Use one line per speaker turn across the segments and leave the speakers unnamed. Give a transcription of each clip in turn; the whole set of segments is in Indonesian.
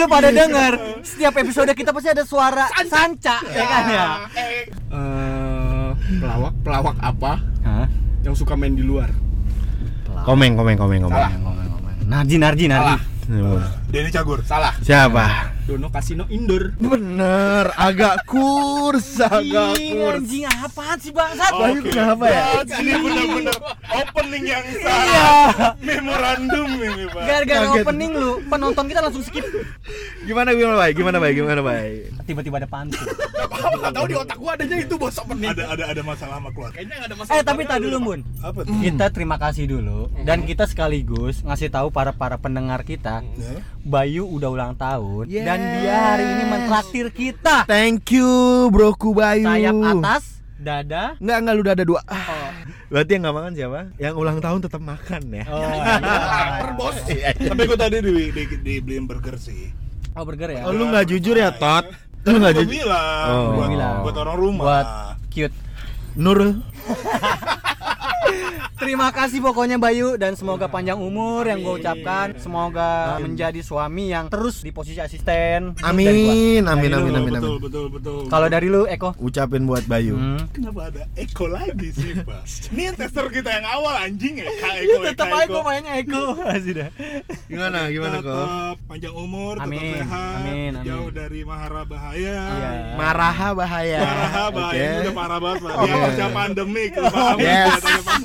lu pada
Iya.
denger setiap episode kita pasti ada suara sanca, ya kan
Iya.
ya.
Eh, pelawak pelawak apa
Hah?
yang suka main di luar?
Komeng, komeng, komeng, komeng.
Narji, Narji, Narji.
Salah.
Denny Cagur.
Salah.
Siapa?
Dono Kasino Indoor.
Bener, agak kurs, agak
Anjing,
kurs.
anjing apaan sih bangsat?
Oh, Bayu kenapa ya?
Ini benar-benar opening yang
Iya.
sangat memorandum ini, Pak.
Gara-gara
Kaget.
opening lu, penonton kita langsung skip.
Gimana gimana bay? Gimana bay? Gimana bay?
Tiba-tiba ada pantun.
Apa nggak tahu di otak gua adanya itu bos opening.
Ada ada ada masalah sama keluarga.
Kayaknya nggak ada masalah.
eh, tapi tadi dulu, Bun.
Apa tuh?
Kita terima kasih dulu dan kita sekaligus ngasih tahu para para pendengar kita,
Iya.
Bayu udah ulang tahun dan dia hari ini mentraktir kita.
Thank you, broku Bayu.
Sayap atas, dada.
Enggak, enggak lu udah ada dua. Berarti yang nggak makan siapa? Yang ulang tahun tetap makan ya. Iya,
Oh,
Laper bos.
Tapi gue tadi di, di, dibeliin burger sih.
oh burger ya.
Oh, lu nggak jujur ya, Tot? Lu nggak
Gue
jujur.
bilang,
Oh.
buat,
Bilang.
buat orang rumah.
Buat cute.
Nurul.
Terima kasih pokoknya Bayu dan semoga
Iya.
panjang umur yang gue ucapkan. Semoga menjadi suami yang terus di posisi asisten. Itu dari gua.
Amin, amin, amin, amin, amin.
Iya, betul, betul, betul,
Kalau dari lu Eko.
Ucapin buat Bayu.
Hmm.
Kenapa ada Eko lagi sih, Pak? Ini yang tester kita yang awal anjing ya, Kak Eko.
Iya, Tetap
Kak
aja gue mainnya Eko. Asik dah.
Gimana, gimana kok?
Tetap panjang umur,
Amin,
tetap sehat,
amin, amin.
jauh dari mahara bahaya.
Iya.
Maraha bahaya.
Parah bahaya
Oke.
ini udah parah banget, Pak.
Oke.
Dia pasca pandemik, lu paham?
Yes.
Dia pasca pandemik.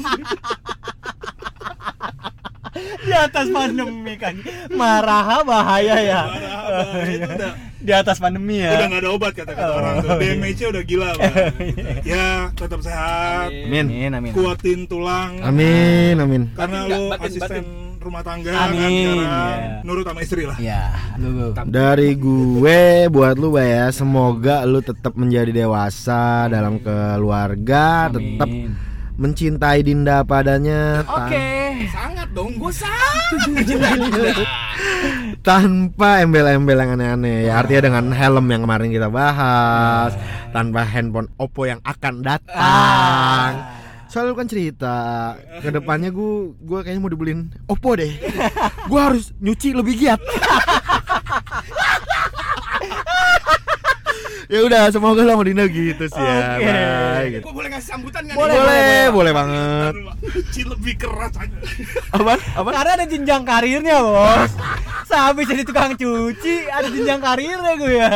Di atas pandemi kan. Marah bahaya ya.
Parah bahaya itu udah
Di atas pandemi
Iya.
ya.
udah nggak ada obat kata-kata orang tuh. Damage-nya udah gila, Pak. Ya, tetap sehat,
Amin.
Amin amin.
kuatin tulang.
Amin, amin.
Karena
Batin,
lu
Kak, batin,
asisten rumah tangga kan
Amin,
sekarang.
iya.
Nurut sama istri lah.
Ya, lu.
Dari gue buat lu Bay, ya, semoga lu tetap menjadi dewasa dalam keluarga, tetap
Amin.
mencintai Dinda padanya tan-
Oke.
Sangat dong, gua sangat mencintai
Nah. tanpa embel-embel yang aneh-aneh. Ya, artinya dengan helm yang kemarin kita bahas, tanpa handphone Oppo yang akan datang. Soalnya lu kan cerita kedepannya gue gue kayaknya mau dibeliin Oppo deh. gue harus nyuci lebih giat. ya udah semoga lo sama Dinda gitu sih ya.
Oke.
Bye, gitu.
Gua boleh ngasih sambutan nggak?
Boleh,
nih?
boleh, banget.
Cuci lebih keras aja.
Apaan? Apaan?
Karena ada jenjang karirnya, Bos. Sehabis jadi tukang cuci, ada jenjang karirnya gue ya.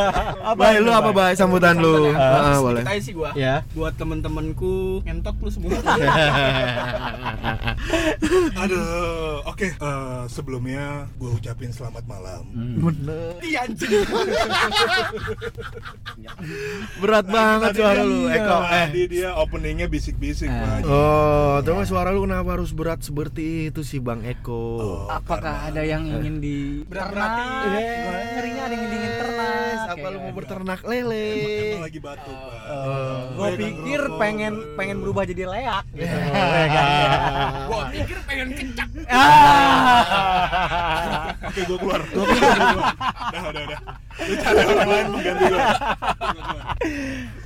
Apa
Bay,
itu,
lu apa
Bay?
bay sambutan ya. lu?
Sambutan
Heeh,
Sedikit
boleh.
aja sih gua.
Ya.
Buat temen-temenku ngentot lu semua.
Aduh, oke. Eh, sebelumnya gue ucapin selamat malam.
Bener.
Ih, anjing.
Berat banget suara lu, Eko. Eh.
iya, Tadi dia openingnya bisik-bisik, Pak.
Oh, coba suara lu kenapa harus berat seperti itu sih, Bang Eko?
Apakah ada yang ingin di
Berat-berati.
Gue Iya, ngerinya ada yang ingin ternak.
Apa lu mau
Kayak-
berternak
Emang
lele?
lagi batuk, Pak. kan
Gue pikir pengen pengen berubah jadi leak gitu.
Gua pikir pengen kecak.
Ah.
Oke, gue keluar. Gua keluar. Udah, udah, udah. Lu cari orang lain pengganti gue.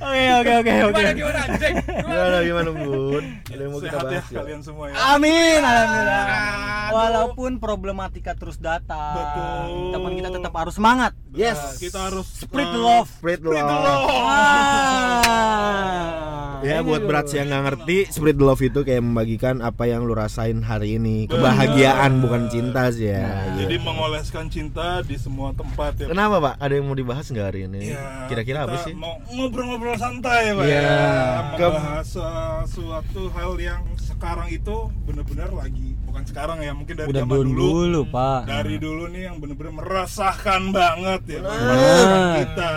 Oke oke oke oke.
Gimana gimana anjing?
Gimana Ya gimana, Bun? Ada yang mau
Sehat
kita
ya
bahas? ya?
kalian semua ya.
Amin alhamdulillah.
Aduh.
Walaupun problematika terus datang,
Betul.
teman kita tetap harus semangat.
Yes.
Nah, kita harus
Spread the
eh,
love.
Spread
Spread the
love.
love.
Ah.
Ya
Ini
buat
tuh.
berat yang nggak ngerti Spread the love itu kayak membagikan apa yang lu rasain hari ini Kebahagiaan bukan cinta sih ya
Nah, Jadi
Iya.
mengoleskan cinta di semua tempat ya.
Kenapa pak? Ada yang mau dibahas nggak hari ini?
Ya,
Kira-kira apa
kita
sih?
Mau ngobrol-ngobrol santai, Pak. ya.
Iya. Ke-
Membahas uh, suatu hal yang sekarang itu benar-benar lagi bukan sekarang ya, mungkin dari
udah
zaman
dulu,
dulu.
dulu pak.
Dari dulu nih yang benar-benar meresahkan banget ya, Pak.
Benar.
meresahkan kita.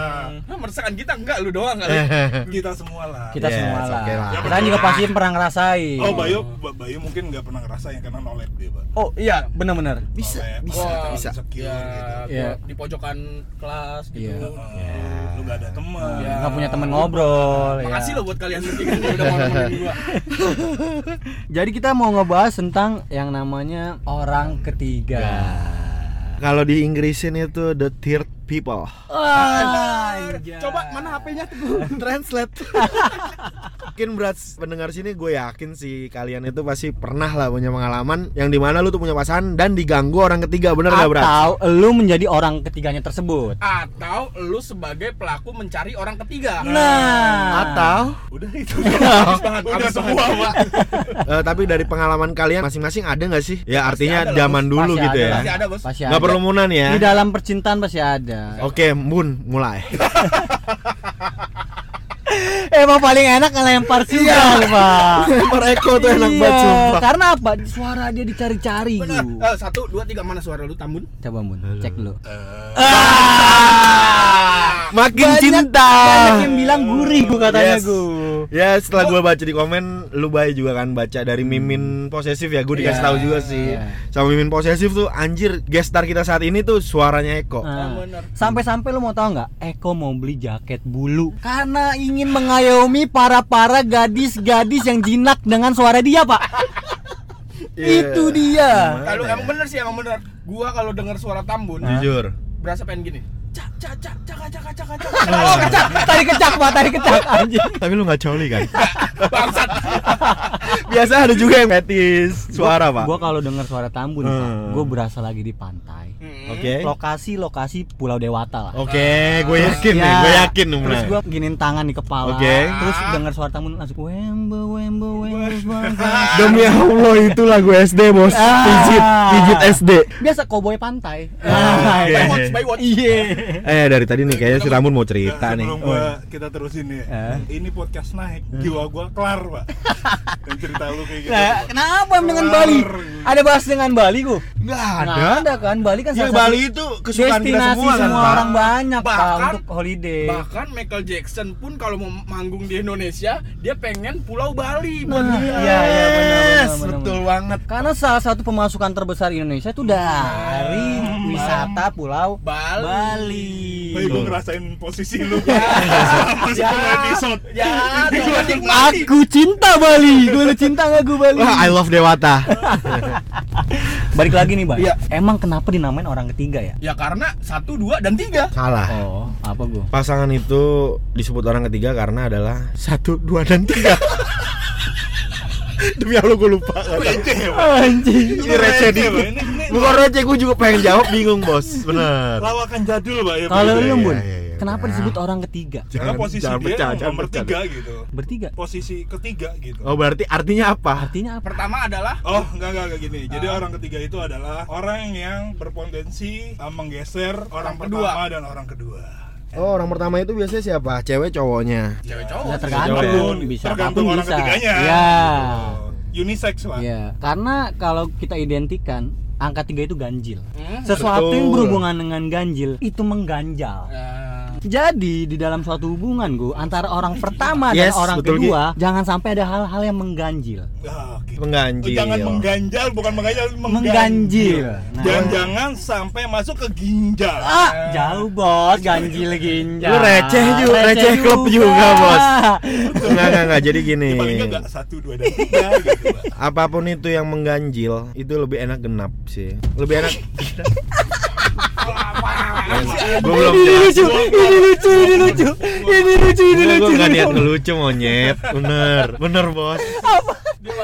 Nah, meresahkan kita enggak lu doang kali.
Eh.
Kita semua lah.
Kita iya.
Yes,
semua lah.
oke lah.
Kita juga pasti pernah ngerasain.
Oh, Bayu, Ba- Bayu mungkin nggak pernah ngerasain karena nolep dia, Pak.
Oh iya benar-benar.
Bisa,
Nolep,
bisa,
terlalu
bisa.
insecure
Ya,
gitu.
Iya.
gua di pojokan kelas gitu.
Iya.
Heeh, Lu gak ada teman.
Iya.
Nggak punya teman ngobrol. ya.
Makasih lo buat kalian bertiga yang udah mau nemenin gua.
Jadi kita mau ngebahas tentang yang namanya orang ketiga.
Kalau di Inggrisin itu the third people.
Wah, anjay.
Coba mana HP-nya tuh?
Translate. yakin berat pendengar sini gue yakin sih kalian itu pasti pernah lah punya pengalaman yang dimana lu tuh punya pasangan dan diganggu orang ketiga bener gak berat?
Atau lu menjadi orang ketiganya tersebut.
Atau lu sebagai pelaku mencari orang ketiga. Nah,
Nah,
Atau
Udah itu.
Habis banget,
Udah
habis
semua,
banget.
Pak.
eh, tapi dari pengalaman kalian masing-masing ada nggak sih? Ya artinya
ada lah,
zaman dulu
Pasti
gitu
ada,
ya.
Pasti ada, Bos.
Pasti
Nggak
ada.
perlu munan ya.
Di dalam percintaan pasti ada.
Oke, Bun, mulai.
Eh, Emang paling enak ngelempar sinyal, Pak.
Lempar Eko tuh enak
Iya,
banget sumpah.
Karena apa? Suara dia dicari-cari,
Benar.
Gu.
Eh, satu, dua, tiga mana suara lu Tambun?
Coba, Mun, cek dulu.
Makin
Banyak-
cinta.
Banyak yang bilang gurih gua katanya,
Yes.
Gu.
Ya setelah gue baca di komen Lu bay juga kan baca dari Mimin Posesif ya Gue dikasih
Iya,
tahu juga sih
iya.
Sama Mimin Posesif tuh anjir gestar kita saat ini tuh suaranya Eko
Nah,
bener.
Sampai-sampai lu mau tahu nggak? Eko mau beli jaket bulu karena ingin mengayomi para-para gadis-gadis yang jinak dengan suara dia, Pak.
Iya.
Itu dia.
Kalau emang bener sih, emang bener. Gua kalau dengar suara Tambun,
Nah. Jujur
berasa pengen gini. Cak, cak, cak, cak, cak, cak, cak, cak.
Oh, kecak, tadi kecak, Pak, tadi kecak anjing.
Tapi lu gak coli kan?
Bangsat.
Biasa ada juga yang fetis suara pak
Gua kalau dengar suara tambun, Pak,
Hmm. Eh?
gua berasa lagi di pantai.
Oke
Lokasi-lokasi Pulau Dewata lah.
Oke gue Oh, yakin
Ya.
nih Gue yakin nih
Terus
mulai
gue giniin tangan di kepala.
Oke.
Terus dengar suara tamu langsung wembo wembo wembo. wembo."
Demi Allah itu lagu SD bos
Ah.
Pijit Pijit SD
Biasa koboi pantai.
Ah,
By
oke.
Hmm. watch, by watch.
Iya.
Eh dari tadi nih kayaknya si Ramun mau cerita nih
Nah,
Oh, iya.
Sebelum gua kita terusin ya.
Eh.
Ini podcast naik,
Hmm.
jiwa gua kelar, Pak. Dan cerita lu kayak gitu.
Nah, kenapa dengan Bali? Ada bahas dengan Bali gua.
Enggak
Nah.
Nggak ada kan Bali kan
Ya
salah satu
Bali itu kesukaan kita
destinasi
semua
semua,
kan Pak
orang banyak pak
Bahkan-
untuk holiday.
Bahkan Michael Jackson pun kalau mau manggung di Indonesia, dia pengen Pulau Bali. buat
Nah,
dia.
iya iya benar benar,
ya. Yes,
benar,
betul
benar.
banget Ah,
Karena salah satu pemasukan terbesar Indonesia itu dari wisata Pulau
Bali.
Bali.
Tapi gua ngerasain posisi lu.
Ya.
Pak. Selama sepuluh episode.
Ya, coba nikmati.
Aku cinta Bali. Gue cinta gak gue Bali?
Wah, I love Dewata.
Balik lagi nih, Bang.
Iya.
Emang kenapa dinamain orang ketiga ya?
Ya karena satu, dua, dan tiga.
Salah.
Oh, apa gue?
Pasangan itu disebut orang ketiga karena adalah satu, dua, dan tiga. Demi Allah gue lupa.
Anjing.
Ini receh
Receh, Pak.
dikit.
Ini- ini-
Bukan receh, gue juga pengen jawab bingung bos. Bener.
Lawakan jadul, Pak ya.
Kalau
Pak.
lu,
iya,
Bun,
iya, iya,
kenapa
udah.
disebut orang ketiga?
karena posisi dia
bercanda,
yang
jangan
nomor
bercanda.
tiga gitu.
Bertiga.
Posisi ketiga gitu.
Oh berarti artinya apa?
Artinya apa?
Pertama adalah
Oh, enggak enggak enggak gini.
Ah.
Jadi orang ketiga itu adalah orang yang berpotensi uh, menggeser orang
kedua.
pertama dan orang kedua.
Oh orang pertama itu biasanya siapa? Cewek cowoknya.
cewek
Ya
cowok.
tergantung,
ya.
bisa
tergantung
apapun
orang
bisa.
ketiganya.
Ya.
Gitu. Unisex lah.
Ya, karena kalau kita identikan angka tiga itu ganjil.
Hmm,
Sesuatu yang
betul.
berhubungan dengan ganjil itu mengganjal.
Nah,
Jadi di dalam suatu hubungan gue antara orang pertama dan
Yes,
orang
betul, Ki.
kedua jangan sampai ada hal-hal yang mengganjil.
Ah, oke.
Mengganjil.
Jangan mengganjal, bukan mengganjal,
Mengganjil. Nah.
Jangan-jangan sampai masuk ke ginjal.
Ah, jauh bos, ganjil ginjal.
Lu receh juga, receh klub juga, Bos. Enggak enggak enggak. Jadi gini.
Ya, paling nggak nggak satu dua dan tiga gitu. Pak.
Apapun itu yang mengganjil itu lebih enak genap sih. Lebih enak. Gue belum
Ini
jelas.
lucu, ini lucu, ini lucu, ini lucu, ini
Gue
lucu.
gak
ini
niat
lucu.
ngelucu monyet Bener Bener bos
Apa?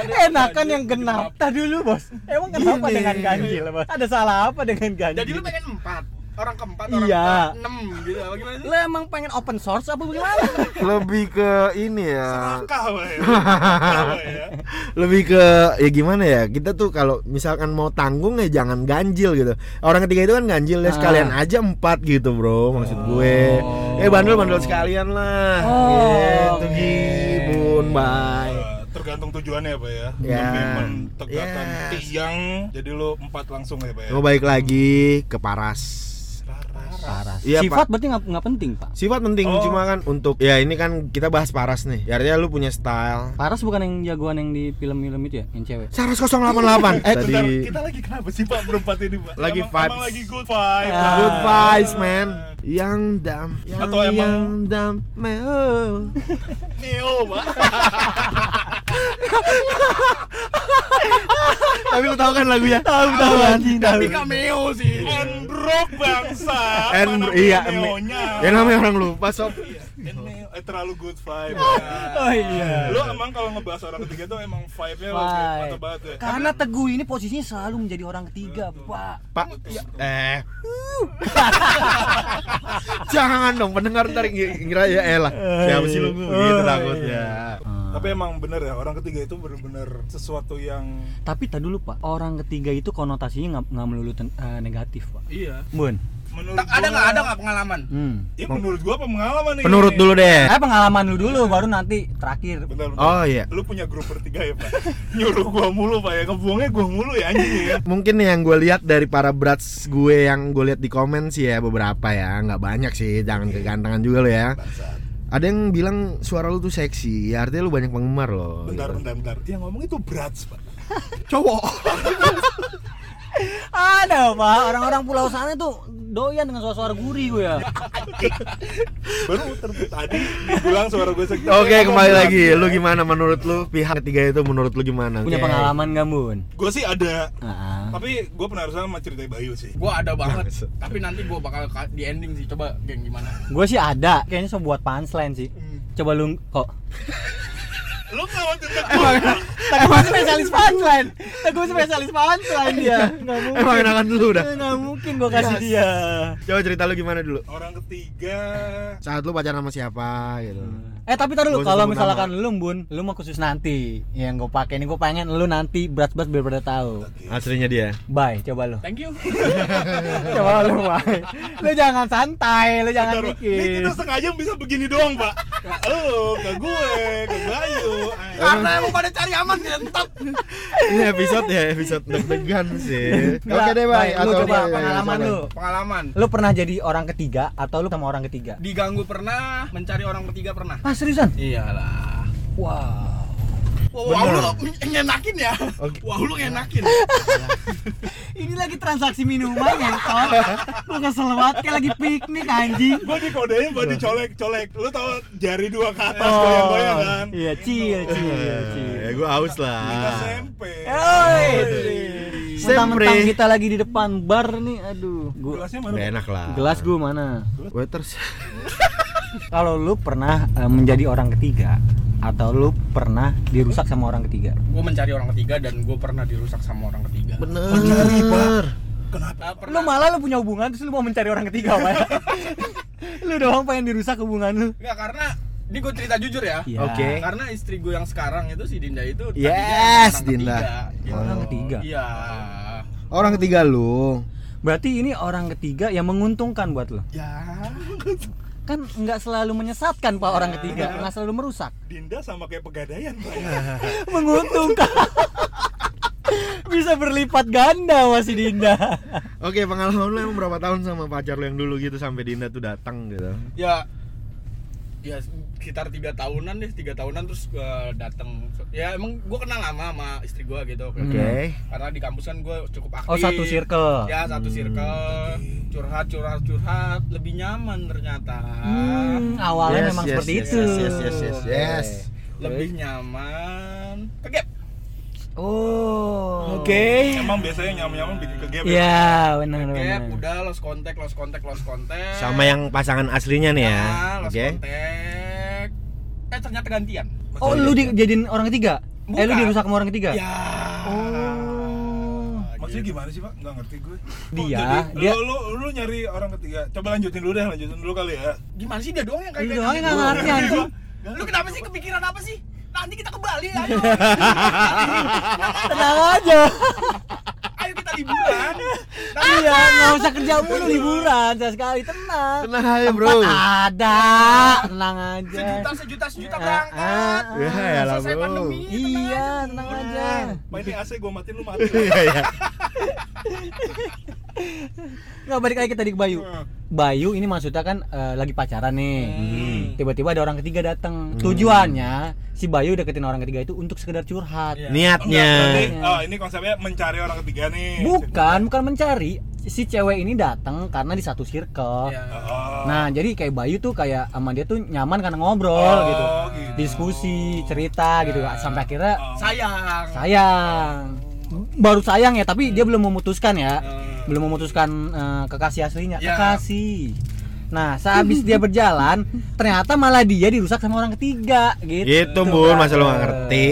Enakan Eh, yang genap. Tadi dulu bos. Emang kenapa dengan ganjil bos? Ada salah apa dengan ganjil?
jadi lu pengen empat. Orang keempat, orang
Iya.
ke enam gitu. Apa gimana sih?
Lu emang pengen open source apa gimana?
Lebih ke ini ya
Serakah, Pak, ya. Serakah, Pak, ya.
Lebih ke Ya gimana ya Kita tuh kalau misalkan mau tanggung ya jangan ganjil gitu Orang ketiga itu kan ganjil ya
Ah.
Sekalian aja empat gitu bro Maksud gue Eh bandel-bandel sekalian lah
Oh,
Gitu
oke.
gibun bye
Eh, tergantung tujuannya Pak ya.
Ya.
Komitmen tegakkan
Yes.
tiang. Jadi lu empat langsung ya Pak ya.
Gue balik lagi ke paras
Parah.
Iya, Pak.
Sifat berarti nggak nggak penting pak.
Sifat penting
Oh.
cuma kan untuk Ya ini kan kita bahas paras nih Ya, Artinya lu punya style
Paras bukan yang jagoan yang di film-film itu ya, yang cewek.
Saras 088
Eh, bentar, kita lagi kenapa sih Pak berempat ini Pak?
Lagi
emang,
vibes.
emang lagi good vibe.
Ah.
Good vibes man Yang dam yang,
Atau emang-
yang dam meo
Neo Pak.
Tapi lu tau kan lagunya? kan?
Tahu tahu anjing tahu.
Tapi cameo sih.
Endrok bangsa.
And
Mana
iya,
cameo-nya?
ya namanya orang lupa sob.
Cameo, eh, terlalu good vibe. kan.
Oh iya.
Lu emang kalau ngebahas orang ketiga tuh emang vibe-nya lu kayak
Vibe.
mantap banget ya.
Karena Teguh ini posisinya selalu menjadi orang ketiga, Pak.
Pak, eh. Jangan dong pendengar ntar ng- ngira ya elah. Siapa sih lu gitu takutnya.
Eh,
Tapi emang bener ya, orang ketiga itu bener-bener sesuatu yang
Tapi tadi dulu, Pak. Orang ketiga itu konotasinya nggak- nggak melulu ten- eh, negatif, Pak.
Iya.
Bun.
menurut
Tak ada
gua-
nggak ada nggak pengalaman?
Hmm.
Ya, menurut gua apa pengalaman nih?
Penurut dulu deh.
Eh pengalaman lu dulu baru nanti terakhir.
Bentar, bentar.
Oh iya.
Lu punya grup bertiga ya, Pak? Nyuruh gua mulu, Pak ya. Kebuangnya gua mulu ya anjing ya.
Mungkin nih yang gue lihat dari para brats gue yang gue lihat di komen sih ya beberapa ya, nggak banyak sih, jangan kegantengan juga lo ya. Ada yang bilang suara lu tuh seksi, ya artinya lu banyak penggemar loh.
Bentar,
gitu.
bentar, bentar. Dia ngomong itu berat, Pak.
Cowok.
Ada, Pak. Orang-orang pulau sana tuh doyan dengan suara-suara gurih gue ya.
Baru terbuat tadi dibilang suara gue segitu.
Oke kembali lagi, lu gimana menurut lu pihak ketiga itu menurut lu gimana?
Punya
Oke.
pengalaman nggak, Bun?
Gue sih ada,
Heeh.
tapi gue penasaran sama cerita Bayu sih.
Gua ada
Iya,
banget. Tapi nanti gua bakal ka- di ending sih. Coba geng gimana?
Gue sih ada, kayaknya so buat punchline sih. Coba lu kok.
Lu kalau tentang gua,
Teguh spesialis punchline. Teguh spesialis punchline dia. Enggak mungkin.
Emang enakan dulu udah.
Enggak mungkin gue kasih dia.
Coba cerita lu gimana dulu?
orang ketiga
Saat lu pacaran sama siapa gitu.
Eh tapi taruh lu
Gak usah
kalau
sebut
misalkan lu Bun, lu mau khusus nanti. Yang gue pakai ini gue pengen lu nanti berat-berat biar pada tahu.
Aslinya dia.
Bye, coba lu.
Thank you.
coba lu bye. Lu jangan santai, lu jangan
Bentar, Pak. Ini
mikir.
kita sengaja bisa begini doang, Pak. Lu ke gue, ke Bayu.
Karena emang pada cari aman ngentot.
Ini episode ya, episode deg-degan sih.
Nggak,
Oke deh,
Bay,
Bay.
Lu
Atau ya,
coba
Bay,
pengalaman
silakan.
lu.
Pengalaman.
Lu pernah jadi orang ketiga atau lu sama orang ketiga?
Diganggu pernah, mencari orang ketiga pernah.
Ah seriusan?
Iyalah.
Wow.
Wow, wow lu ngenakin ya. Wow lu ngenakin.
Ini lagi transaksi minuman ya, Tom. Lu kesel banget kayak lagi piknik anjing.
Gue di kodenya buat dicolek-colek. Lu tau jari dua ke atas goyang-goyang kan?
Oh,
iya,
Iya, chill, chill, chill.
Eh, Ya gue haus
Kita
lah.
SMP.
Oi. Mentang-mentang
Sempre.
kita lagi di depan bar nih, aduh. Gua
Gelasnya
Gak
mana?
enak lah.
gelas gua mana?
Waiters.
Kalau lu pernah eh, menjadi orang ketiga atau lu pernah dirusak sama orang ketiga?
Gua mencari orang ketiga dan gua pernah dirusak sama orang ketiga.
Bener.
Ah,
Lu
pernah.
malah lu punya hubungan terus lu mau mencari orang ketiga, Pak. lu doang pengen dirusak hubungan lu.
Enggak karena ini gue cerita jujur ya.
Iya.
Oke.
Karena istri gue yang sekarang itu si Dinda itu tadinya
Yes,
orang
Dinda.
ketiga, gitu.
Orang ketiga.
Iya.
Orang ketiga lu.
Berarti ini orang ketiga yang menguntungkan buat lo.
Ya,
Kan nggak selalu menyesatkan pak orang ketiga, nggak selalu merusak.
Dinda sama kayak pegadaian, Pak.
Menguntungkan. Bisa berlipat ganda masih Dinda.
Oke, pengalaman lu emang berapa tahun sama pacar lu yang dulu gitu sampai Dinda tuh datang gitu.
Ya ya sekitar tiga tahunan deh tiga tahunan terus gue datang ya emang gue kenal lama sama istri gue gitu
Oke.
karena di kampus kan gue cukup aktif
Oh satu circle. Hmm.
ya satu circle curhat curhat curhat lebih nyaman ternyata
Hmm, awalnya
Yes,
memang
yes,
seperti
yes,
itu.
Yes, yes, yes, yes. yes.
lebih nyaman kegep
Oh.
Emang biasanya nyaman-nyaman bikin ke game. ya?
Ya benar benar.
kegep udah lost contact lost contact lost contact
Sama yang pasangan aslinya nih ya.
Ah, lost
Oke.
contact eh ternyata gantian
Oh lu dijadiin orang ketiga? Eh lu
Bukan.
dirusak sama orang ketiga?
ya
Oh.
Maksudnya gimana sih, Pak? Nggak ngerti gue. Oh,
Dia-
jadi
dia-
lu, lu, lu nyari orang ketiga. Coba lanjutin dulu deh, lanjutin dulu kali ya.
gimana sih dia doang yang kayak
Lu
kayak
doang yang
gitu?
nggak
Iya,
ngerti, Iya, anjing.
lu kenapa sih kepikiran apa sih nanti kita ke Bali ayo
Tenang aja.
ayo kita liburan Nanti-
Iya, nggak usah kerja mulu liburan saya sekali tenang.
Tenang aja, Bro.
Tempat ada, tenang aja.
sejuta sejuta sejuta
Ah,
berangkat
ah,
Ya,
ah.
ya lah,
selesai
Bro.
pandemi tenang
Iya,
aja.
tenang aja.
Pak ini AC gue matiin lu mati.
Iya, iya.
Nggak balik lagi tadi ke Bayu.
Iya.
Bayu ini maksudnya kan eh, lagi pacaran nih.
Hmm.
Tiba-tiba ada orang ketiga datang. Tujuannya si Bayu deketin orang ketiga itu untuk sekedar curhat.
Iya.
Niatnya.
Enggak, berarti, oh, ini konsepnya mencari orang ketiga nih.
Bukan, bukan mencari. Si cewek ini datang karena di satu circle.
Iya.
Oh.
Nah, jadi kayak Bayu tuh kayak sama dia tuh nyaman karena ngobrol
Oh,
gitu.
gitu.
diskusi cerita gitu
Iya.
sampai akhirnya
sayang
sayang baru sayang ya tapi dia belum memutuskan ya
Hmm.
belum memutuskan eh, kekasih aslinya
Ya.
kekasih nah sehabis dia berjalan ternyata malah dia dirusak sama orang ketiga gitu
Gitu, Bun, masa lu nggak ngerti.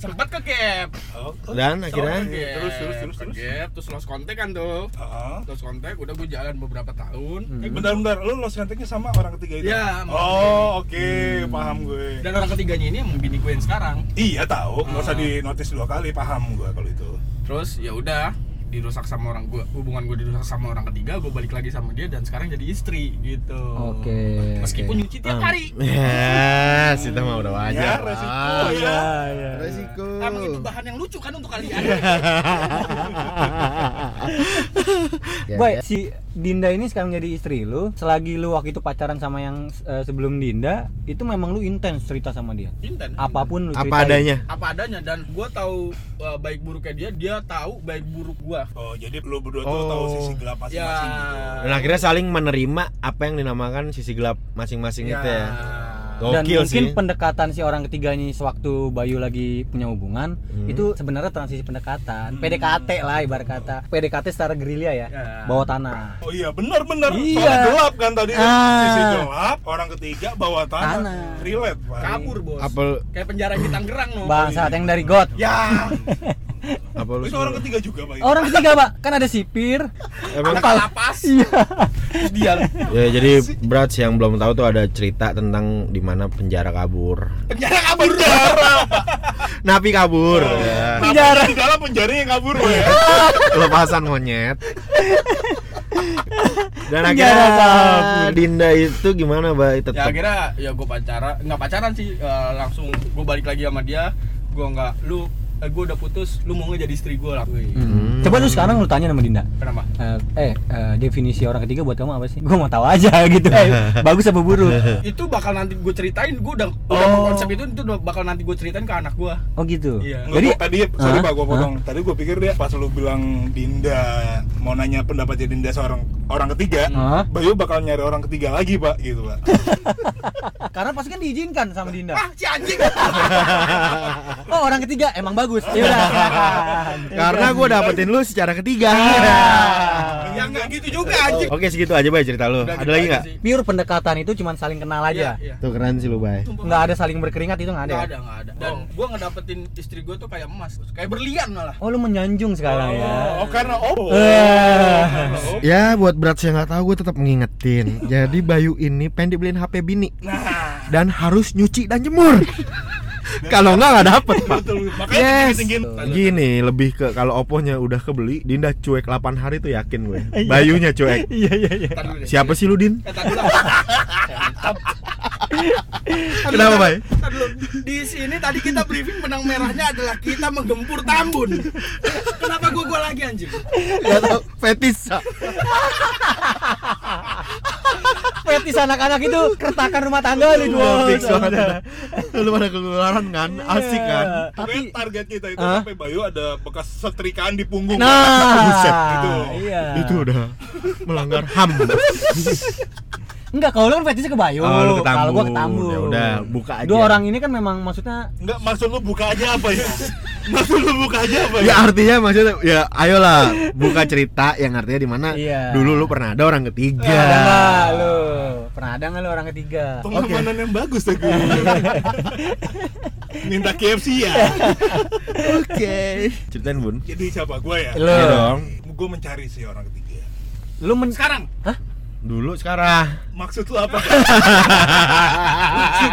sempat ke gap
Oh,
Dan akhirnya
Iya, terus terus terus terus ke gap terus lost kontak kan tuh
ah.
lost kontak udah gue jalan beberapa tahun
Hmm.
Eh, bentar-bentar, lu lost kontaknya sama orang ketiga itu?
Iya, sama
Oh, oke, paham gue.
dan orang ketiganya ini emang bini gue yang sekarang
Iya tahu, nggak usah
Ah.
di notice dua kali, paham gue kalau itu.
terus ya udah dirusak sama orang gue hubungan gue dirusak sama orang ketiga gue balik lagi sama dia dan sekarang jadi istri gitu
Oke, Hmm. oke.
meskipun nyuci tiap hari
Ah. Yes, itu mah udah
ya,
wajar.
resiko
Ah,
ya.
iya.
Resiko.
Emang itu bahan yang lucu kan untuk kalian
Ya,
Boy,
ya.
si Dinda ini sekarang jadi istri lu. Selagi lu waktu itu pacaran sama yang eh, sebelum Dinda, itu memang lu intens cerita sama dia.
Intan
Apapun lu
Apa
ceritain.
adanya.
apa adanya dan gue tahu uh, baik buruknya dia dia tahu baik buruk gue
Oh, jadi lu berdua tuh
Oh.
tahu sisi gelap
ya
masing-masing gitu.
Dan akhirnya saling menerima apa yang dinamakan sisi gelap masing-masing itu ya.
Dan
Gokil
mungkin
sih.
pendekatan si orang ketiganya sewaktu Bayu lagi punya hubungan,
Hmm.
itu sebenarnya transisi pendekatan. PDKT lah ibarat kata. PDKT secara gerilya ya,
Ya.
bawah tanah.
Oh iya, benar-benar.
Iya.
Soalnya gelap kan tadi kan?
Ah.
sisi gelap, orang ketiga bawa tanah.
Tanah.
Relate, Pak.
kabur bos
Apel
kayak penjara di Tangerang no
Bangsat yang dari God.
Ya.
apa lu
Itu
semua?
orang ketiga juga, Pak.
Orang ketiga, Pak. Kan ada sipir.
Emang-
Anak lapas Terus
Iya.
dia
ya jadi berat sih yang belum tahu tuh ada cerita tentang di mana penjara kabur.
penjara kabur Oh.
Napi kabur. ya.
Penjara.
Iya. Di dalam penjara yang kabur ya.
Lepasan monyet. Dan
Penjara
akhirnya Dinda itu gimana, Bay?
ya
Tetap
akhirnya ya gue pacaran nggak pacaran sih eh, langsung gue balik lagi sama dia gue nggak lu gue udah putus lu mau nggak jadi istri gue lah Wih.
Hmm. Coba lu sekarang lu tanya sama Dinda.
kenapa
Eh, eh, eh, definisi orang ketiga buat kamu apa sih? Gua mau tahu aja gitu. Eh, bagus apa buruk?
itu bakal nanti gue ceritain gue udah udah
Oh.
mau konsep itu itu udah bakal nanti gue ceritain ke anak gue
Oh gitu.
Iya.
Nggak,
Jadi
gua tadi sorry
Hah?
Pak gua potong. Tadi gua pikir dia pas lu bilang Dinda mau nanya pendapatnya Dinda seorang orang ketiga.
Hah?
Bayu bakal nyari orang ketiga lagi, Pak, gitu, Pak.
karena pasti kan diizinkan sama
Ya.
Dinda.
ah si anjing
Oh orang ketiga emang bagus. Ya udah.
karena gue dapetin lu secara ketiga.
ya nggak gitu juga anjing
Oke segitu aja Bay cerita lu. Oh.
Udah
Ada
gitu
lagi
aja
nggak?
sih.
pure pendekatan itu cuman saling kenal
Iya,
aja.
iya.
Tuh keren sih lu Bay.
Nggak ada saling berkeringat itu nggak ada.
Nggak
ya?
ada, nggak ada. Dan gua ngedapetin istri gua tuh kayak emas, kayak berlian malah.
Oh lu menyanjung sekarang ya.
Oh, karena oh.
Eh.
Karena oh.
Ya buat berat yang nggak tahu gue tetap ngingetin. Jadi Bayu ini pengen dibeliin HP bini
Nah,
dan harus nyuci dan jemur. Kalau nggak nggak dapet pak.
betul. Makanya
Yes.
tinggi-tinggiin.
Gini lebih ke kalau Oppo-nya udah kebeli, Dinda cuek 8 hari tuh yakin gue. Bayunya cuek.
Iya iya iya.
Ntar dulu deh.
Siapa sih lu Din?
Eh, ntar dulu.
Kenapa Bay?
Ntar dulu. Di sini tadi kita briefing benang merahnya adalah kita menggempur Tambun. Kenapa gua gua lagi anjing?
Gak tau. Fetis.
Fetis anak-anak itu keretakan rumah tangga lu dua.
Wah, Iya, fix banget. Lu pada ketularan kan?
Iya.
Asik kan?
Iya.
Tapi
Tapi
target kita itu
Hah?
sampai Bayu ada bekas setrikaan di punggung.
nah
Buset,
gitu.
Iya.
Itu udah melanggar HAM.
Enggak, kalau lu kan fetisnya ke Bayu.
Oh, lu ke
Kalau gua ke
Tambun.
Tambun.
Ya udah, buka aja.
Dua orang ini kan memang maksudnya
Enggak, maksud lu buka aja apa ya? maksud lu buka aja apa ya?
Ya artinya maksudnya ya ayolah buka cerita yang artinya di mana
Iya.
dulu lu pernah ada orang
Pernah ada
ketiga.
nggak lu? Pernah ada nggak lu orang ketiga?
Pengamanan yang bagus deh gue. Minta KFC ya.
Oke. Ceritain Bun.
Jadi siapa gue ya?
Lu.
Iya dong.
Gue mencari sih orang ketiga.
Lu men
Sekarang
Dulu sekarang.
Maksud lu apa? Maksud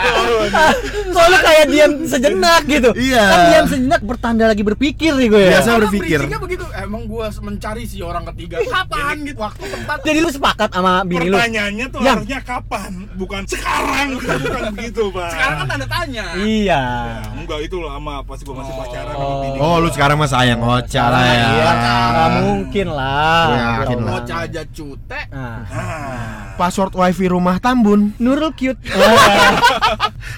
lu apa?
Soalnya kayak diam sejenak gitu.
Iya.
Kan diam sejenak bertanda lagi berpikir nih gue ya.
Biasa
orang
berpikir.
bridgingnya begitu. Emang gua mencari si orang ketiga. Kapan gitu? Waktu tempat.
Jadi lu sepakat sama bini lu?
Pertanyaannya tuh
Yang.
harusnya kapan, bukan sekarang, bukan begitu, Pak.
Sekarang kan tanda tanya.
Iya.
Ya, enggak itu lama pas gue masih pacaran sama
Oh.
bini
Oh,
gua.
lu sekarang mah sayang Ocha lah ya.
Iya, nggak mungkin lah.
Gue yakin
Ya
lah.
Mau
Allah.
aja cute.
Nah.
Ah.
Password wifi rumah Tambun.
Nurul cute.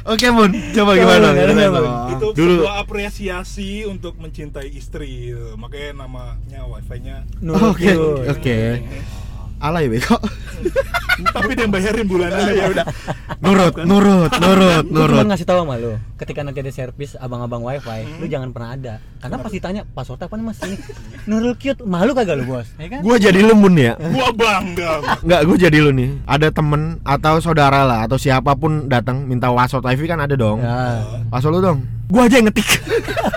Oke Bun, coba
Coba, Bun,
gimana? Ceritain,
gimana,
Bun.
Bun?
itu
Dulu
sebuah apresiasi untuk mencintai istri gitu. makanya namanya wifi nya
Nurul
Oke,
cute.
oke. alay beko
tapi dia yang bayarin bulanan ya udah
nurut nurut nurut
Gue
nurut
cuma ngasih tahu sama lu, ketika nanti ada servis abang-abang wifi, lu jangan pernah ada. Karena pasti tanya password apa nih mas ini. Nurul cute, malu kagak lu bos? Ya kan?
gue jadi lemun ya
gua bangga
Nggak, gue jadi lu nih ada temen atau saudara lah atau siapapun datang minta waso TV kan ada dong
Ya.
waso lu dong gue aja yang ngetik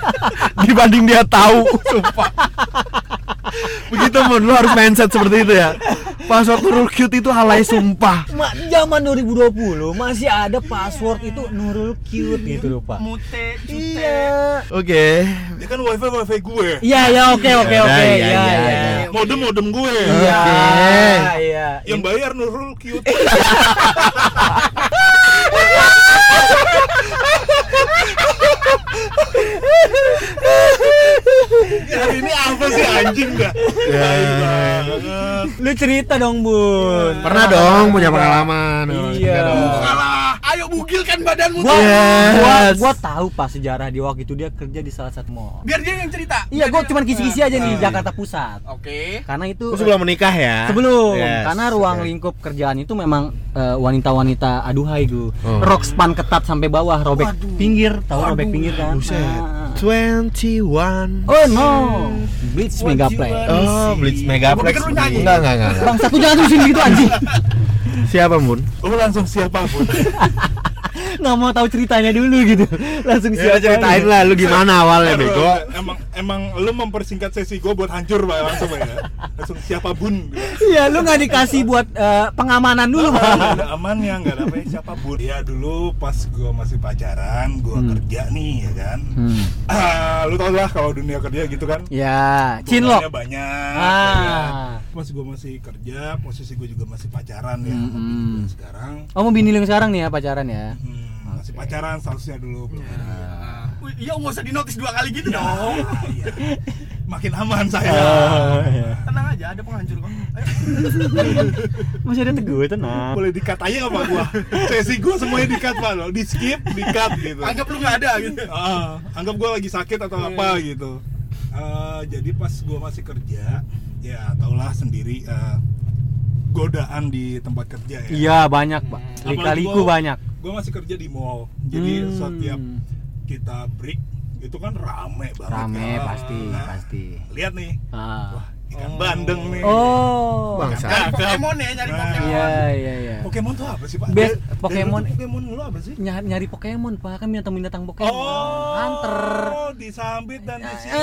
dibanding dia tahu sumpah begitu mon lu harus mindset seperti itu ya password nurul cute itu alay sumpah
Ma, zaman 2020 masih ada password itu Nurul cute gitu lupa.
mute
Iya.
oke
dia kan wifi wifi gue
Iya ya oke oke
Ya,
oke.
ya,
Iya
ya,
iya.
ya.
modem modem gue
Iya. Iya.
yang bayar Nurul cute
Ya,
hari ini apa sih anjing dah
Ya.
banget
Lu cerita dong, Bun.
pernah dong punya pengalaman Oh,
Iya.
dong.
kalah ayo bugilkan badanmu
Gua,
Yes.
gua gua tahu pas sejarah di waktu itu dia kerja di salah satu mall.
biar dia yang cerita
Iya,
Biar
gua
dia-
cuman kisi-kisi aja nih
Eh,
Jakarta Pusat.
oke
Karena itu
Lu Oh, iya. sebelum menikah ya
Sebelum,
Yes.
karena ruang
Oke.
lingkup kerjaan itu memang eh, wanita-wanita aduhai gue.
Oh.
Rock span ketat sampai bawah, robek pinggir, tahu robek pinggir kan? Ah.
21
Oh no, Blitz
What
Mega
you
Play.
want?
Oh, Blitz Megaplex.
Gua pikir lu nyanyi.
Enggak, enggak, enggak. enggak.
Bang satu jangan terusin gitu anjing.
Siapa, Mun?
Oh,
lu langsung siapapun
Nggak mau tahu ceritanya dulu gitu. Langsung
Siapa
siapa?
Ya,
gitu.
ceritain lah lu gimana awalnya, Bego.
emang emang lu mempersingkat sesi gue buat hancur pak langsung pak ya langsung siapa bun
Iya, lu nggak dikasih buat eh, pengamanan dulu,
Nggak
Bang.
ada amannya nggak ada apa siapa bun ya dulu pas gue masih pacaran gue kerja nih ya kan
Hmm.
ah, lu tau lah kalau dunia kerja gitu kan
Ya,
Bebannya
Cinlok.
banyak ya kan.
Ah.
pas gue masih kerja posisi gue juga masih pacaran ya
Hmm.
tapi gua sekarang
Oh, mau bini lu yang sekarang nih ya pacaran ya?
hmm, masih pacaran statusnya dulu belum ada.
Wih, iya nggak usah di notice dua kali gitu dong
Ah, iya. makin aman saya
Ah.
Ah.
tenang aja ada penghancur kok Ayo.
Masih ada teguh tenang.
boleh dikat aja nggak pak gua sesi gua semuanya dikat pak lo di skip dikat gitu
anggap lu nggak ada gitu
Ah, anggap gua lagi sakit atau
Iya.
apa gitu Eh, jadi pas gua masih kerja ya taulah sendiri eh, godaan di tempat kerja ya
Iya, banyak, Pak.
Apalagi
Lika-liku
gua-
banyak.
gua masih kerja di mall jadi
Hmm.
setiap kita break itu kan rame banget
Rame
kan.
pasti,
Nah,
pasti.
lihat nih
Ah.
ikan bandeng nih
Oh.
Bangsa.
cari Pokemon ya nyari
Nah.
Pokemon
Iya, iya, iya.
Pokemon tuh apa sih pak?
Best
Dari- dari dulu
Pokemon-
tuh Pokemon lu apa sih? Oh,
Nyari, nyari Pokemon, Pak. Kan binatang binatang Pokemon. Hunter. Eh.
disambit dan disimpan.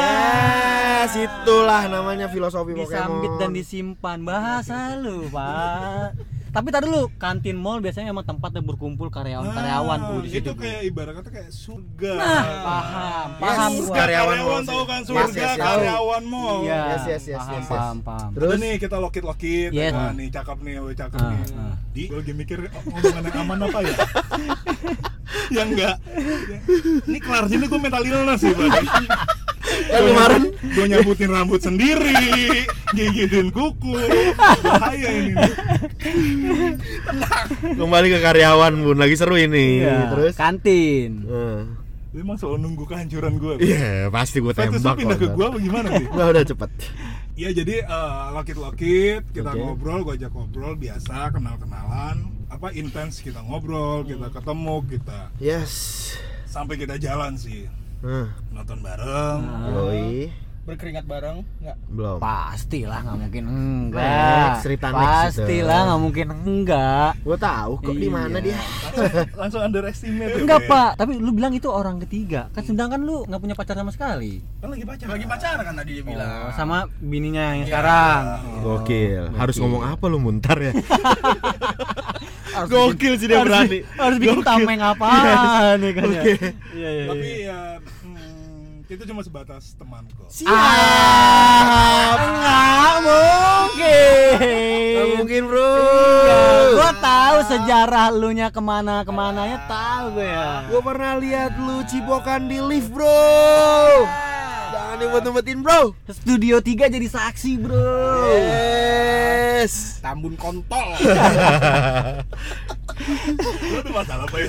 Yes, itulah namanya filosofi Pokemon.
Disambit dan disimpan. Bahasa lu, Pak. Tapi tadi dulu, kantin mall biasanya emang tempatnya berkumpul karyawan-karyawan Bu di situ.
Nah, Ah, Itu
Bu.
kayak ibarat kata kayak surga. Ya,
Nah, paham, paham gua.
Yes, karyawan
karyawan,
mall
karyawan tahu kan
sih.
surga
Yes, yes, yes.
karyawan mall.
Iya.
Yes, yes, yes,
paham,
yes, yes.
paham, paham.
Terus nih kita lokit-lokit,
Yes.
nah, nih cakep nih, woi cakep
Ah,
nih.
ah.
Di gue lagi mikir oh, ngomongan yang aman apa ya? yang enggak. Ini kelar sini gue mental illness sih, Bang.
Kan Eh, kemarin
gue nyabutin rambut sendiri, gigitin kuku, bahaya ini. nih.
kembali ke karyawan, Bun. Lagi seru ini.
Iya,
Terus
kantin.
Eh.
Lu emang selalu nunggu kehancuran gue.
Iya, pasti gue
Fetus lu
tembak.
pindah ke
kalau
gue apa gimana sih?
Udah, udah cepet.
Iya jadi eh, lokit-lokit kita
Oke.
ngobrol, gue ajak ngobrol biasa, kenal-kenalan, apa intens kita ngobrol, kita
Hmm.
ketemu, kita
Yes.
sampai kita jalan sih
Nah,
nonton bareng.
Ah.
Yoi.
berkeringat bareng nggak
Belum.
Pastilah nggak mungkin enggak.
Next, cerita next
Pastilah
itu.
nggak mungkin enggak.
Gue tahu kok di
Iya.
mana dia.
Langsung underestimate. ya,
Enggak
Be.
pak, tapi lu bilang itu orang ketiga Kan sedangkan lu nggak punya pacar sama sekali
Kan lagi pacar.
lagi pacaran kan tadi dia bilang
Iya.
Oh, Sama bininya yang sekarang
Gokil. Harus ngomong apa lu muntar ya?
Harus
Gokil sih dia
harus-
berani.
Harus bikin
Gokil.
tameng apa nih kan ya
Oke.
Iya iya
Tapi
iya
ya hmm, itu cuma sebatas teman kok.
Iya.
Siap.
Nggak
Nggak
mungkin
mungkin, Bro.
Gue tahu sejarah lu nya kemana kemananya tahu gue ya
Gue pernah lihat lu cipokan di lift, Bro. Jangan dibuat-buatin, Bro.
Studio 3 jadi saksi bro
Iya. Yes. Iya.
Tambun kontol
Lu tuh masalah apa ya?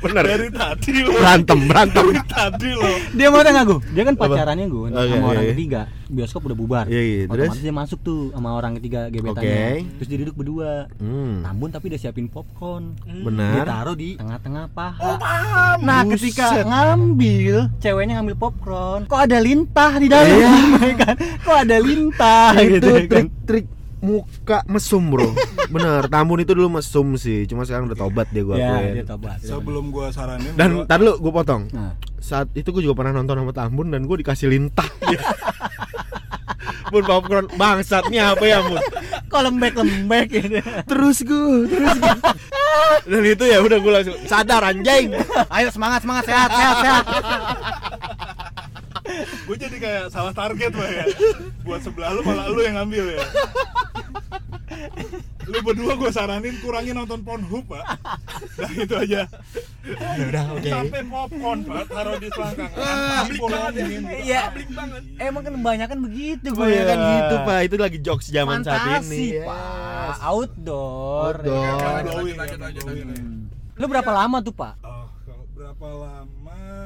Bener.
Dari tadi lo.
Berantem, berantem.
Dari tadi lo.
dia mau tanya gue dia kan pacarannya gue
Oke,
sama orang
iya.
ketiga bioskop udah bubar
Iya, iya,
otomatis
terus?
dia masuk tuh sama orang ketiga gebetannya
Oke.
terus dia duduk berdua
Hmm,
Namun tapi udah siapin popcorn
benar. Oh,
ditaruh di tengah-tengah paha nah ketika ngambil ceweknya ngambil popcorn kok ada lintah di dalam
Iya.
ya kan kok ada lintah
itu
gitu ya kan
trik-trik muka mesum bro bener Tambun itu dulu mesum sih cuma sekarang udah tobat dia gua
ya
akuin
dia tobat dia tobat.
sebelum gua saranin
dan
gua-
tar dulu gua potong
nah,
saat itu gua juga pernah nonton sama Tambun dan gua dikasih lintah Bun popcorn bangsatnya apa ya Bun
kok lembek-lembek gitu
terus gua terus gua dan itu ya udah gua langsung sadar anjing
ayo semangat semangat sehat sehat sehat
Gue jadi kayak salah target lo ya. Buat sebelah lu malah lu yang ngambil ya.
lu berdua gua saranin kurangin nonton Pornhub pak nah itu aja Ya
udah oke
sampai popcorn pak taruh di selangkang Anjing, bolongin.
iya emang kan kebanyakan begitu gue
ya kan gitu pak itu lagi jokes zaman saat
fantasi
ini
pak ya. outdoor,
Outdoor.
ya kan?
Glowing,
Lanjut, lanjut,
glowing.
lu berapa lama tuh pak
Oh, kalau berapa lama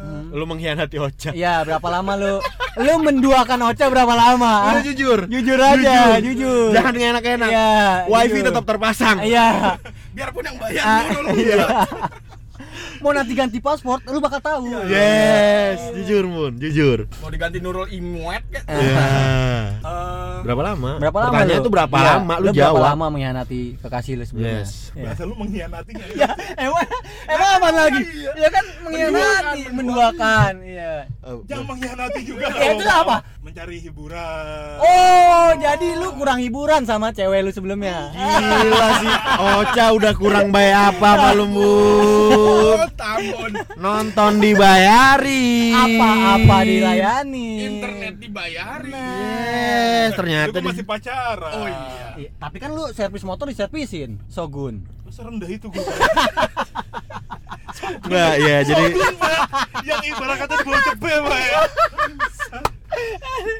Hmm.
lu mengkhianati Ocha
Iya, berapa lama lu? Lu menduakan Ocha berapa lama?
Udah Iya, jujur
Jujur aja, jujur.
Jangan dengan enak-enak
Iya,
Wifi
jujur.
tetap terpasang
Iya.
biarpun yang bayar
Ah,
dulu
iya.
ya.
Mau nanti ganti paspor, lu bakal tahu.
Iya.
Iya.
Yes Jujur Mun Jujur
mau diganti Nurul Imwet kan
Eh. Iya
Eh,
Berapa lama?
Berapa lama
Pertanyaan
lu?
itu berapa
Iya,
lama? Lu,
berapa
jawab
lama mengkhianati kekasih lu sebelumnya?
Yes.
Iya.
bahasa lu mengkhianati nggak ya?
Ya, emang emang apa lagi?
Iya.
Ya kan mengkhianati, menduakan. Iya.
Eh,
jangan mengkhianati juga
Ya, itu
dong.
apa?
mencari hiburan
Oh, jadi lu kurang hiburan sama cewek lu sebelumnya.
Iya. Gila sih Ocha udah kurang bayar apa malum Bun
tahun
Nonton dibayari
Apa-apa dilayani.
internet dibayarin
Nah.
eh,
Yes
Lu
Ternyata
kan
di-
masih pacaran
oh iya
Iya, tapi kan lu servis motor diservisin, Sogun.
Masa rendah itu gue
Enggak ya jadi
yang ibarat kata gue cepe pak ya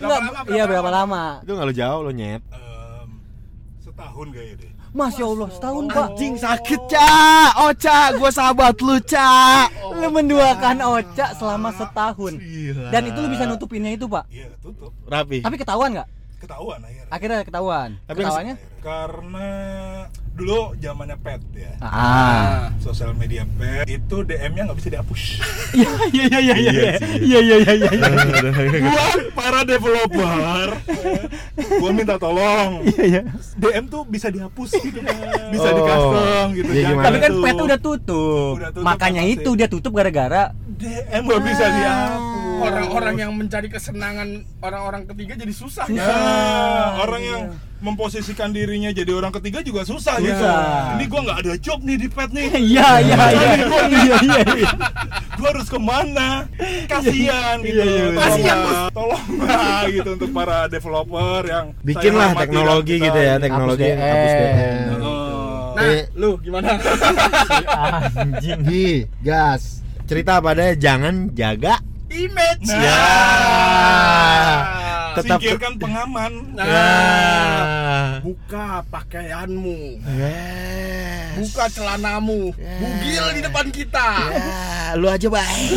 Enggak, iya berapa lama?
Itu gak lu jauh lu nyet
Em, setahun kayaknya deh
Masya Allah, Oh, setahun pak.
Anjing sakit Ca Ocha gua sahabat lu Ca
Lu menduakan Oca selama setahun.
Gila.
Dan itu lu bisa nutupinnya itu pak.
iya tutup
Rapi
Tapi ketahuan nggak?
ketahuan akhirnya
Akhirnya ketahuan.
Tapi yang-
Ketahuannya?
karena dulu zamannya pet ya
Ah.
Nah,
sosial media pet itu DM-nya nggak bisa dihapus
Iya iya iya iya iya iya iya iya iya.
gua para developer gua minta tolong
iya.
DM tuh bisa dihapus gitu Pak. bisa
Oh.
di custom gitu
Iya,
Jangan
gimana
Tapi kan
tuh.
pet udah tutup.
Udah tutup,
Makanya
pasti.
itu dia tutup gara-gara
DM nggak bisa
Ah.
dihapus Iya.
orang-orang yang mencari kesenangan orang-orang ketiga jadi susah
Ya,
ya
orang yang
Iya.
memposisikan dirinya jadi orang ketiga juga susah, gitu.
Susah.
Ini gua nggak ada job nih di pet nih.
Iya iya iya. Iya iya iya.
Gua harus kemana? Kasihan gitu.
Iya, iya, iya.
Kasihan Tolong lah gitu untuk para developer yang saya
bikinlah
hormati dan
teknologi
kita-
gitu ya teknologi
Hapus
hapus
DM.
DM.
Oh.
nah
Eh.
lu gimana
anjing Gi, gas cerita padanya jangan jaga
image
Nah.
Ya.
Nah.
Tetap-
singkirkan pengaman.
Nah.
Ah.
buka pakaianmu
Yes.
buka celanamu bugil di depan kita
Ah, lu aja baik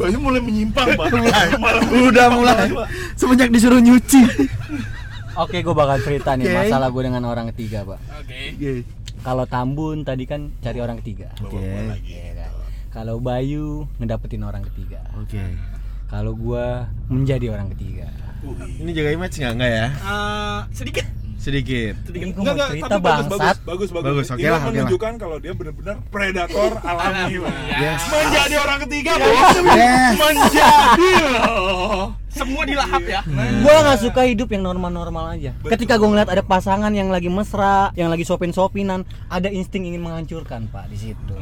Bayu mulai menyimpang, Pak. Malah
udah mulai semenjak disuruh nyuci
Oke, gue bakal cerita nih
Oke.
masalah gue dengan orang ketiga, Pak.
oke
Kalau Tambun tadi kan cari orang ketiga. Iya kan? Kalau Bayu ngedapetin orang ketiga.
oke
Kalau gua menjadi orang ketiga.
ini jaga image nggak nggak ya
Eh, sedikit
sedikit
Ini
sedikit
gua mau cerita bangsat.
bagus, bagus, bagus,
Bagus, oke
Ini
lah, oke lah.
menunjukkan kalau dia benar-benar predator alami, Pak.
yes
Menjadi orang ketiga, Bos.
yes
Menjadi.
semua dilahap ya
Hmm. Gua nggak suka hidup yang normal-normal aja. Ketika gua ngeliat ada pasangan yang lagi mesra, yang lagi sopin-sopinan, ada insting ingin menghancurkan, Pak, di situ.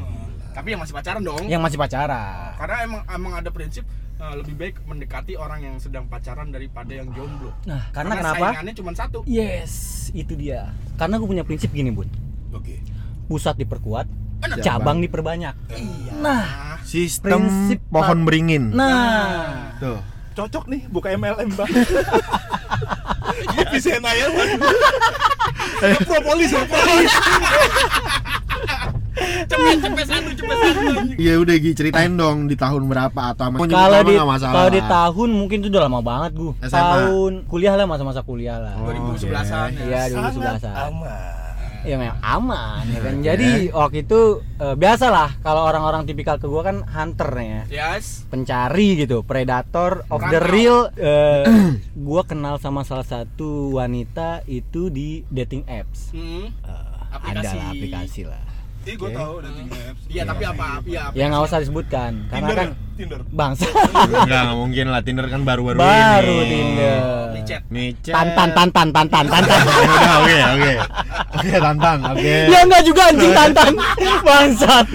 tapi yang masih pacaran dong
Yang masih pacaran.
karena emang emang ada prinsip eh, lebih baik mendekati orang yang sedang pacaran daripada yang jomblo
Nah, karena kenapa?
saingannya cuma satu
Yes, itu dia. Karena gue punya prinsip gini, Bun.
Oke.
Pusat diperkuat, cabang diperbanyak. Nah,
sistem
Prinsip
pohon
pa-
beringin
nah.
tuh
Cocok nih buka MLM, Pak. Pisahin aja, Eh. Pak. Propolis, propolis.
Cepet cepet satu cepet satu.
Oh,
Iya udah Gi, ceritain dong di tahun berapa atau sama
Kalau di
nggak masalah.
kalau di tahun mungkin itu udah lama banget gua.
SMA.
Tahun kuliah lah masa-masa kuliah lah.
Oh,
2011-an ya.
Iya, 2011-an.
aman
ya memang aman ya kan. Jadi waktu itu eh, biasalah kalau orang-orang tipikal ke gua kan hunter ya.
Yes.
Pencari gitu, predator of the
Rantau.
real. Eh, gua kenal sama salah satu wanita itu di dating apps. Eh,
Hmm.
Ada lah aplikasi lah.
Ih, gue tahu udah tinggal apps.
Iya tapi apa? Iya. apa?
Yang nggak usah disebutkan karena
Tinder,
ya?
kan
Tinder.
bangsa
Enggak, nggak mungkin lah Tinder kan baru-baru ini.
baru Tinder.
Micet.
Micet.
Tantan tantan tantan tantan.
Udah, Oke, oke.
Oke, tantang. Oke.
Ya enggak juga anjing tantan. Bangsat.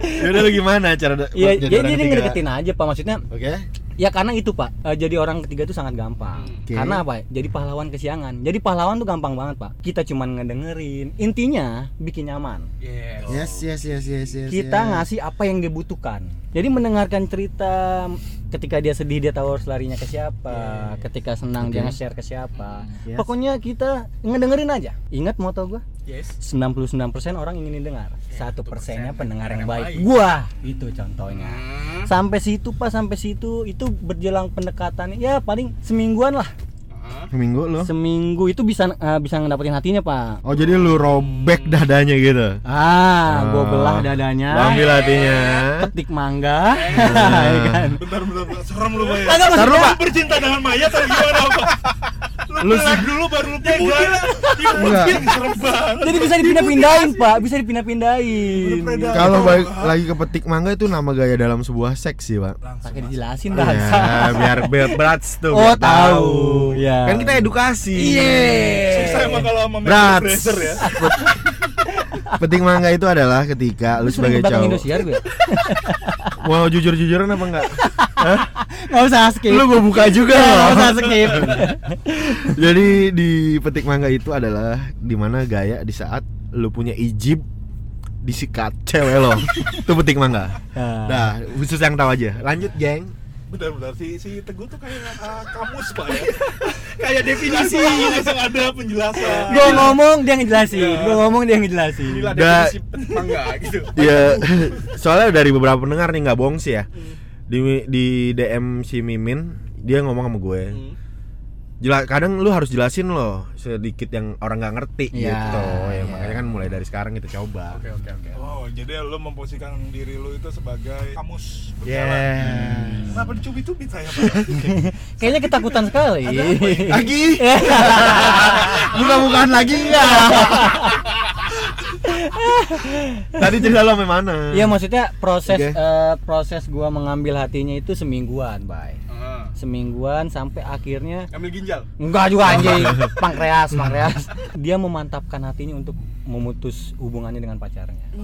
Ya udah lu gimana cara da-
Ya,
jadi
jadi
orang
dia
ketiga?
ngedeketin aja pak maksudnya
Oke.
Ya karena itu pak, Eh, jadi orang ketiga itu sangat gampang.
Oke.
Karena apa? Jadi pahlawan kesiangan. Jadi pahlawan tuh gampang banget pak. Kita cuman ngedengerin. Intinya bikin nyaman.
Yes.
Iya.
Yes, yes, yes, yes, yes.
Kita
yes.
ngasih apa yang dibutuhkan. Jadi mendengarkan cerita ketika dia sedih dia tahu harus larinya ke siapa, ketika senang dia nge-share ke siapa.
Iya. Yes.
Pokoknya kita ngedengerin aja. Ingat moto gua,
Yes.
99% orang ingin didengar, Ya, satu persennya pendengar yang baik.
baik.
Gua itu contohnya.
Hmm.
sampai situ pak sampai situ itu berjelang pendekatan ya paling semingguan lah
Ah.
Seminggu lu.
seminggu itu bisa eh, bisa ngedapetin hatinya pak
Oh, jadi lu robek dadanya gitu.
ah gua
Ah.
belah dadanya
Lu ambil hatinya.
petik mangga ya kan
Bentar, bentar, bentar. serem lu Maya.
Kagak, maksudnya-
lu bercinta dengan mayat atau gimana apa? Lu belah dulu baru lu pegang. Iya,
Enggak.
mungkin serem banget.
jadi bisa dipindah-pindahin pak bisa dipindah-pindahin
Predator.
Kalau balik lagi ke petik mangga itu nama gaya dalam sebuah seks sih, Pak.
pakai dijelasin dah
Ya, biar be- brats tuh.
Oh,
biar
Iya, tahu. Ya.
Kan kita edukasi.
Eh,
Susah emang kalau sama
Brats.
Fraser ya.
Petik mangga itu adalah ketika
lu
lu
sering
sebagai
ke belakang
cowok.
Indosiar gue
Mau jujur-jujuran apa enggak?
nggak usah skip
Lu gua buka juga
nggak
loh.
usah skip
Jadi di petik mangga itu adalah dimana gaya di saat lu punya ijib disikat cewek lo itu petik mangga
Nah.
nah khusus yang tahu aja lanjut geng
Bentar, bentar. Si si Teguh tuh kayak ah, kamus, Pak ya.
Kayak definisi.
Langsung- Langsung ada penjelasan.
gue ngomong dia ngejelasin gue ngomong dia ngejelasin
Inilah
Da-
definisi mangga gitu.
Iya.
ya soalnya dari beberapa pendengar nih nggak bohong sih ya di di DM si Mimin dia ngomong sama gue
Mm-hmm.
Jela- kadang lu harus jelasin loh sedikit yang orang nggak ngerti
Iya.
gitu ya makanya kan mulai dari sekarang kita coba
Oke oke oke.
Oh, jadi lu memposisikan diri lu itu sebagai kamus berjalan.
yeah
Kenapa dicubit-cubit saya, Pak?
kayaknya ketakutan sekali
lagi buka-bukaan lagi ya tadi cerita lo sampai mana
Iya maksudnya proses
Oke.
eh, proses gua mengambil hatinya itu semingguan, Bay.
Ah.
Semingguan sampai akhirnya
Ambil ginjal.
enggak juga anjing, pankreas, pankreas. Dia memantapkan hatinya untuk memutus hubungannya dengan pacarnya.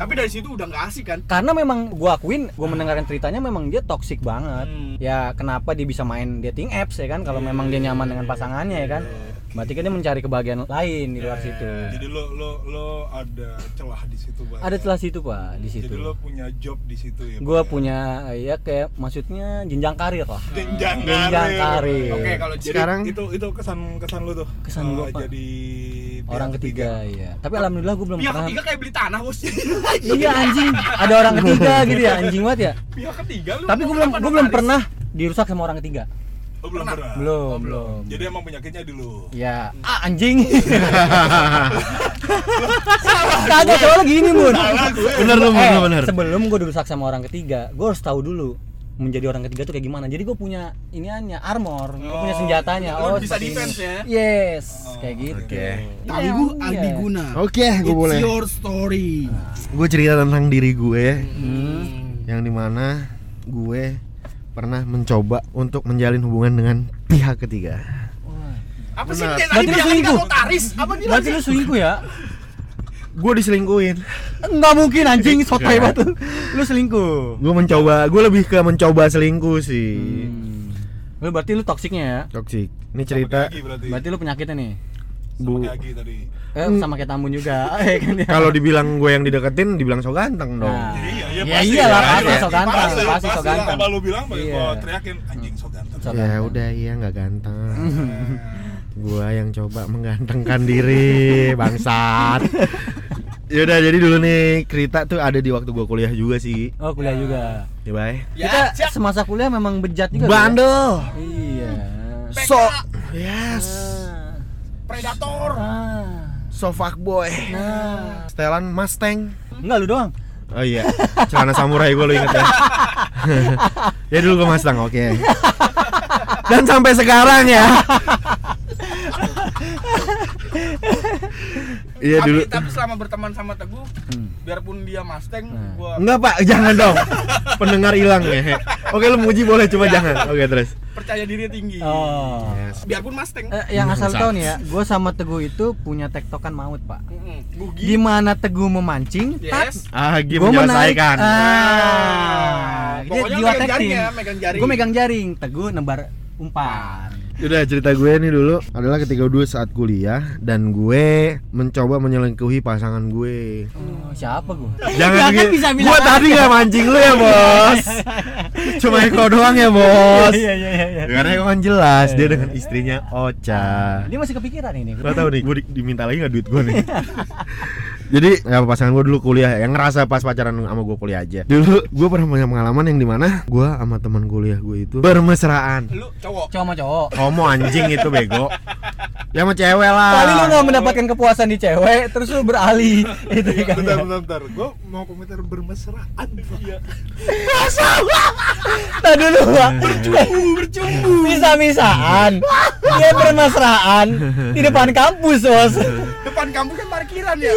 Tapi dari situ udah nggak asik kan?
Karena memang gua akuin, gua mendengarkan ceritanya memang dia toksik banget.
Hmm.
Ya kenapa dia bisa main dating apps ya kan kalau memang dia nyaman dengan pasangannya ya kan? Berarti kan dia mencari kebahagiaan lain di luar situ.
iya.
Jadi lu lu lu ada celah di situ, Pak.
Ada
ya?
celah situ, Pak, di situ.
Jadi lu punya job di situ ya.
Gitu.
Pak,
Gua
ya?
punya eh, ya kayak maksudnya jenjang karir lah.
jenjang
Jenjang karir.
Oke kalau
Jadi
jadi
Sekarang-
itu itu kesan kesan lu tuh.
Kesan
eh,
gua apa?
jadi pihak
orang Iya, ketiga, ya tapi alhamdulillah gue belum
pihak
pernah
ketiga kayak beli tanah bos.
iya anjing ada orang ketiga gitu ya anjing banget ya
pihak ketiga lu.
tapi gue belum
kenapa
gue
dong,
belum
Aris?
pernah dirusak sama orang ketiga
Oh, belum pernah.
belum belum
Jadi emang penyakitnya di lu.
ya ah anjing kagak soalnya gini mun
bener lo bener
Eh,
bener
sebelum gue dirusak sama orang ketiga gue harus tahu dulu menjadi orang ketiga tuh kayak gimana jadi gue punya iniannya armor gue punya senjatanya oh
lu bisa
seperti ini.
defense ya?
yes kayak gitu
Tapi
Iya,
gue
iya.
Aldi Guna.
oke gue boleh
It's your story.
gue cerita tentang diri gue
Hmm.
yang dimana gue pernah mencoba untuk menjalin hubungan dengan pihak ketiga
Apa sih
Benar.
kayak
Berarti lu
tadi pihak ketiga
selingkuh?
mau taris? Apa gimana
berarti lu selingkuh ya
gue diselingkuhin
Nggak mungkin anjing sotoy banget lu. Lu selingkuh.
gue mencoba gue lebih ke mencoba selingkuh sih
Hmm. Lu berarti lu toksiknya ya?
toksik ini cerita
Lagi berarti.
Berarti lu penyakitnya nih.
bu
Lagi tadi.
Eh sama kayak Tambun juga. Eh, kan ya.
kalau dibilang gue yang dideketin dibilang so ganteng dong
Nah.
Iya,
Ya
iya pasti.
iyalah
Iya,
pasti
iya.
so ganteng,
Pasti,
pasti so
pasti.
ganteng.
Apa lu bilang Pak?
Iya.
Gua teriakin anjing so ganteng.
So
Ya
ganteng.
udah iya nggak ganteng. gua yang coba menggantengkan diri, bangsat. Yaudah Ya jadi dulu nih Krita tuh ada di waktu gua kuliah juga sih
Oh kuliah juga.
Ya bye
Kita semasa kuliah memang bejat juga. Bro, ya?
Bandel
Iya.
So Yes
Ah.
predator
Ah.
So fuckboy
Nah.
Setelan Mustang
Enggak lu doang.
Oh iya, celana samurai gue lo inget ya Ya dulu gue Mustang, oke Dan sampai sekarang ya Iya
tapi,
dulu
tapi selama berteman sama teguh biarpun dia mustang gua
Enggak pak, jangan dong Pendengar hilang ya Oke lu muji boleh, cuma jangan Oke terus
percaya diri tinggi
Oh.
biarpun mustang
Eh, yang asal tahu nih ya, gue sama Teguh itu punya tektokan maut pak.
Mm-mm. gugi
Gimana Teguh memancing, tak
Hmm. yes
Ah,
gue
Gim menyelesaikan
Ah, dia
Pokoknya
jiwa
megang
tag
jaring
team.
ya, megang jaring.
Gue megang jaring, Teguh nembar umpan.
Udah cerita gue nih dulu adalah ketika dulu saat kuliah Dan gue mencoba menyelengkuhi pasangan gue
Oh, siapa gue?
Jangan gitu.
bisa bilang.
Gua tadi gak mancing lu ya, Bos. Cuma Eko doang ya, Bos.
Iya iya iya. iya.
Karena Eko kan jelas dia dengan istrinya Ocha.
Dia masih kepikiran ini.
Gak tau nih, gue diminta lagi gak duit gue nih Jadi ya pasangan gue dulu kuliah Yang ngerasa pas pacaran sama gue kuliah aja Dulu gue pernah punya pengalaman yang dimana Gue sama teman kuliah gue itu Bermesraan
lu
Cowok
cowok
sama cowok.
Homo anjing itu bego Ya sama cewek lah
Paling lu gak mendapatkan kepuasan di cewek, terus lu beralih itu
Iya,
kan.
Iya, bentar bentar bentar gue mau komentar bermesraan iya
Nah dulu pak. Bercumbu bercumbu. Bisa bisaan. Dia bermesraan di depan kampus bos.
depan kampus kan parkiran ya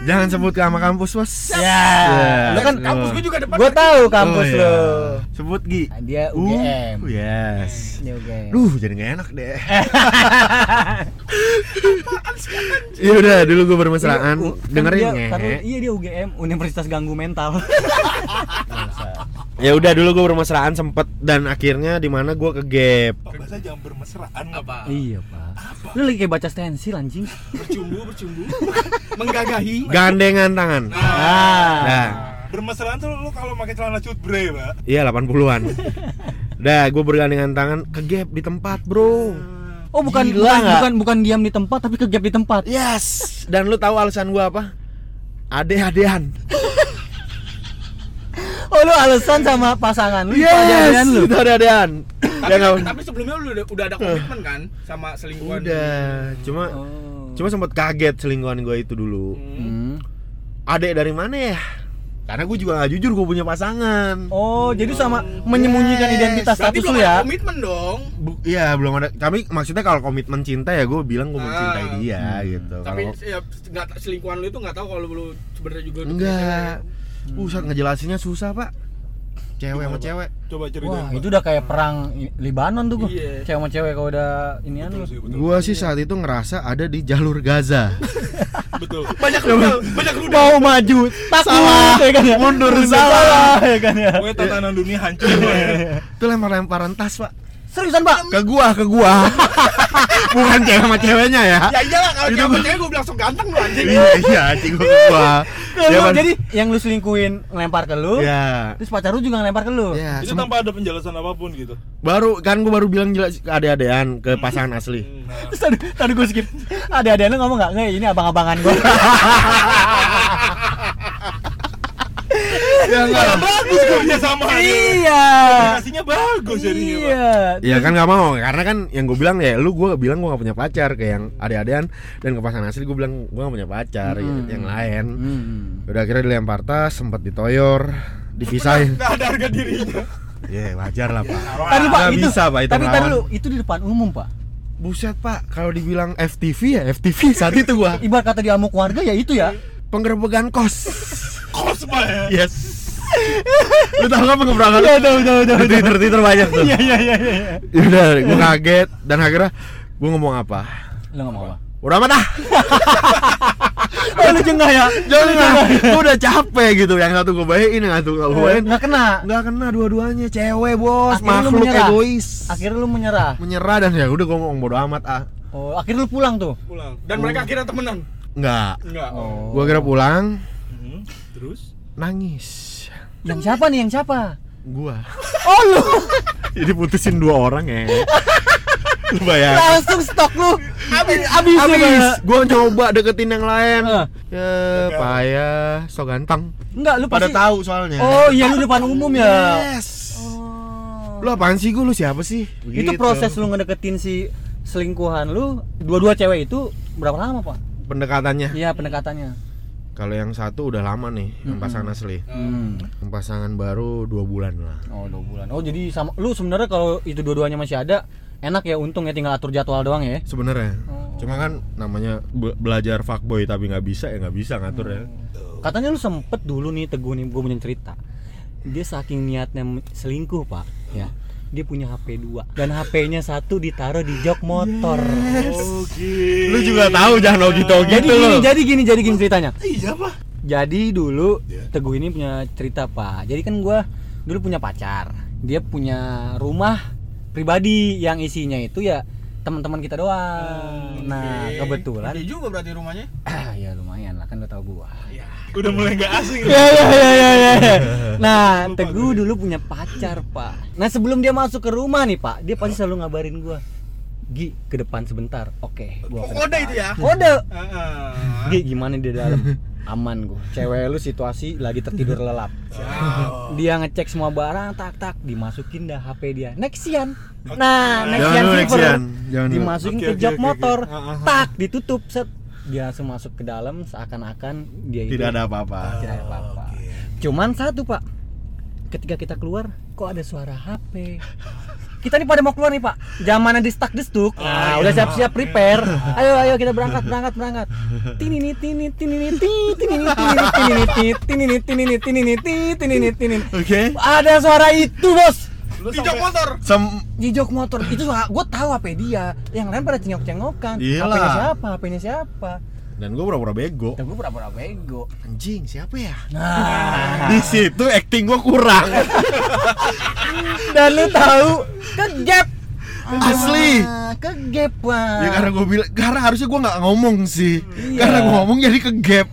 Jangan sebut ke sama kampus bos
Ya. Lu kan
kampus gua juga depan
gue tahu kampus
Oh, iya.
lu. Nah,
Sebut Gi
Dia UGM.
Uh, Yes
Dia UGM.
Duh, jadi gak enak deh. Iya udah, dulu gue bermesraan.
Iya, u- kan
Dengerin
dia,
ngehe.
karena- Iya dia UGM, Universitas Ganggu Mental.
Ya udah dulu gue bermesraan sempet dan akhirnya di mana gue ke gap.
Pak, bahasa jangan bermesraan
Kan apa
iya pak. Lu lagi kayak baca stensil anjing.
bercumbu bercumbu menggagahi
Gandengan tangan. Nah,
bermesraan tuh lu kalau pakai celana cutbre pak
iya 80-an. Dah, gue bergandengan tangan ke gap di tempat, Bro.
Oh bukan
Gila
bukan,
nggak?
bukan bukan diam di tempat tapi kegap di tempat.
Yes. Dan lu tahu alasan gue apa? Ade-adean.
Oh lu alasan sama pasangan lu, pasangan
Yes,
lu.
itu ade-adean.
tapi,
Ya nggak-
tapi sebelumnya lu udah, udah ada komitmen kan sama selingkuhan
Udah, cuma
Oh.
cuma sempet kaget selingkuhan gue itu dulu.
Hmm.
adek dari mana ya? Karena gue juga gak jujur gue punya pasangan.
Oh, jadi sama menyembunyikan
Yes.
identitas
berarti
status
belum
lu
ada
ya.
komitmen dong
Bu- Iya belum ada. Kami maksudnya kalau komitmen cinta ya gue bilang gue mencintai
Ah.
dia
Hmm.
gitu.
tapi
Kalau
ya, nggak ta- selingkuhan lu itu nggak tahu kalau lu sebenarnya juga udah gitu punya
enggak, pusat ngejelasinnya susah pak. Cewek sama cewek.
coba ceritain
Wah,
Pak.
itu udah kayak perang i- Libanon tuh gua.
Iya.
Cewek sama cewek kalau udah inian
betul
lu.
sih betul
Gue sih saat itu ngerasa ada di jalur Gaza.
betul
banyak rudal banyak rudal
Mau maju, takut salah. ya kan ya. Mundur salah ya kan ya.
Pokoknya tatanan dunia hancur Pak.
Iya.
Itu lempar-lemparan tas pak.
Seriusan, Pak?
Ke gua, ke gua. Bukan cewek sama ceweknya ya.
ya iyalah kalau cewek percaya gue bilang sok ganteng lu anjing
Iya, iya, cing gua ke gua.
Ke
Dia
lu,
kan-
jadi yang lu selingkuhin ngelempar ke lu,
Iya.
terus pacar lu juga ngelempar ke lu.
Iya,
itu
sempat-
tanpa ada penjelasan apapun gitu
baru kan gue baru bilang jelas ke ade-adean ke pasangan asli.
Terus tadi, tadi gue skip. Ada ada lu ngomong nggak? Nggak, ini abang-abangan gue.
ya enggak lah.
bagus kok dia Iya. sama
iya.
kasihnya bagus jadinya pak
Iya.
Ya kan nggak mau karena kan yang gue bilang ya lu gue bilang gue nggak punya pacar kayak yang ade-adean dan ke pasangan asli gue bilang gue nggak punya pacar ya, yang lain.
Hmm.
Udah akhirnya dilempar tas sempat ditoyor dipisahin.
nggak ada harga dirinya
Ya wajar lah pak.
Tadi Iya, Pak
Nggak
itu
bisa pak itu
Tapi tadi
melawan.
lu itu di depan umum, Pak.
Buset pak kalau dibilang FTV ya FTV saat itu gue
Ibarat kata diamuk warga ya itu ya.
penggerbegan kos.
kos pak ya
Yes. lu tahu nggak penggerbegan? Udah udah udah udah. Twitter Twitter banyak tuh.
Iya iya iya iya.
Ya udah gue kaget dan akhirnya gue ngomong apa
Lu enggak mau apa?
udah amat ah
Oh, lu jengah ya.
jangan lah gue udah capek gitu yang satu gue bayain yang satu gue bayain
Enggak kena.
nggak kena dua-duanya cewek
Akhirnya
bos
lu
makhluk
menyerah.
egois
Akhirnya lu menyerah.
menyerah dan ya udah gue ngomong bodo amat ah
Oh, akhirnya lu pulang tuh.
pulang dan mereka akhirnya temenan
nggak
enggak
Oh.
gue kira pulang
Hmm, terus
nangis
Yang siapa nih? Yang siapa?
gua oh lu jadi putusin dua orang ya
Lu bayangin.
langsung stok lu habis habis ya?
Abis, gua coba deketin yang lain.
Heeh.
Ya, payah, so ganteng.
enggak lu
Pada
pasti
tahu soalnya.
oh iya lu depan umum ya Oh.
Yes. Lu apaan sih gua? Lu siapa sih?
itu
Gitu.
proses lu ngedeketin si selingkuhan lu dua-dua cewek itu berapa lama pak
pendekatannya.
iya pendekatannya
Kalau yang satu udah lama nih,
Mm-mm.
yang pasangan asli.
hmm.
Yang pasangan baru dua bulan lah.
oh dua bulan oh jadi sama lu sebenarnya kalau itu dua-duanya masih ada enak ya untung ya tinggal atur jadwal doang ya
Sebenarnya.
Oh.
Cuma kan namanya be- belajar fuckboy tapi nggak bisa ya nggak bisa ngatur ya.
Hmm. Katanya lu sempet dulu nih teguh nih gue punya cerita. Dia saking niatnya men- selingkuh pak, ya dia punya HP 2 dan HP-nya satu ditaruh di jok motor.
Lu juga tahu jangan ogi-ogi
Jadi
gitu
gini,
lu.
jadi gini, jadi gini ceritanya.
Iya pak. Iya.
Jadi dulu teguh ini punya cerita pak. Jadi kan gua dulu punya pacar, dia punya rumah pribadi yang isinya itu ya teman-teman kita doang.
Hmm,
Nah
Oke.
kebetulan,
Gede Iya. juga berarti rumahnya.
ya lumayan lah kan lo tau gua.
Udah mulai nggak asing.
Iya,
Ya ya ya ya ya. Nah, Teguh dulu punya pacar, Pak. Nah, sebelum dia masuk ke rumah nih, Pak, dia pasti selalu ngabarin gua. Gi, ke depan sebentar. Oke,
Oh,
gua ke
Kode
depan.
itu ya.
Kode.
Heeh.
Gi, gimana di dalam? Aman gua. Cewek lu situasi lagi tertidur lelap. Dia ngecek semua barang, tak tak, dimasukin dah HP dia. Nexian. Nah, Nexian
Jangan dulu
silver.
Nexian, jangan dulu.
Dimasukin
Oke,
ke
oke,
jok
oke, oke.
motor.
Ah, ah, ah.
Tak, ditutup set. Dia langsung masuk ke dalam seakan-akan dia itu
Tidak ada apa-apa.
Oh,
tidak ada apa-apa. Cuman satu pak, ketika kita keluar, kok ada suara HP. Kita nih pada mau keluar nih pak, zamannya di stuck destuk. Nah, udah siap-siap prepare. Ayo ayo kita berangkat berangkat berangkat. Tinini tini tinini ti tinini tinini tinini ti tinini tinini tinini ti tinini tinini.
Oke.
Ada suara itu bos.
Tijok motor.
Sem
Jijok motor itu gue tahu HP dia. Yang lain pada cengok-cengokan.
Iyalah.
HP-nya siapa? HP-nya siapa?
dan gua pura-pura bego.
Dan gue pura-pura bego.
Anjing, siapa ya?
Nah,
Di situ acting gua kurang.
dan lu tahu ke gap
Asli.
Ah, ke gap Wak.
Ya karena gua bilang karena harusnya gua nggak ngomong sih.
Iya.
Karena gua ngomong jadi ke gap.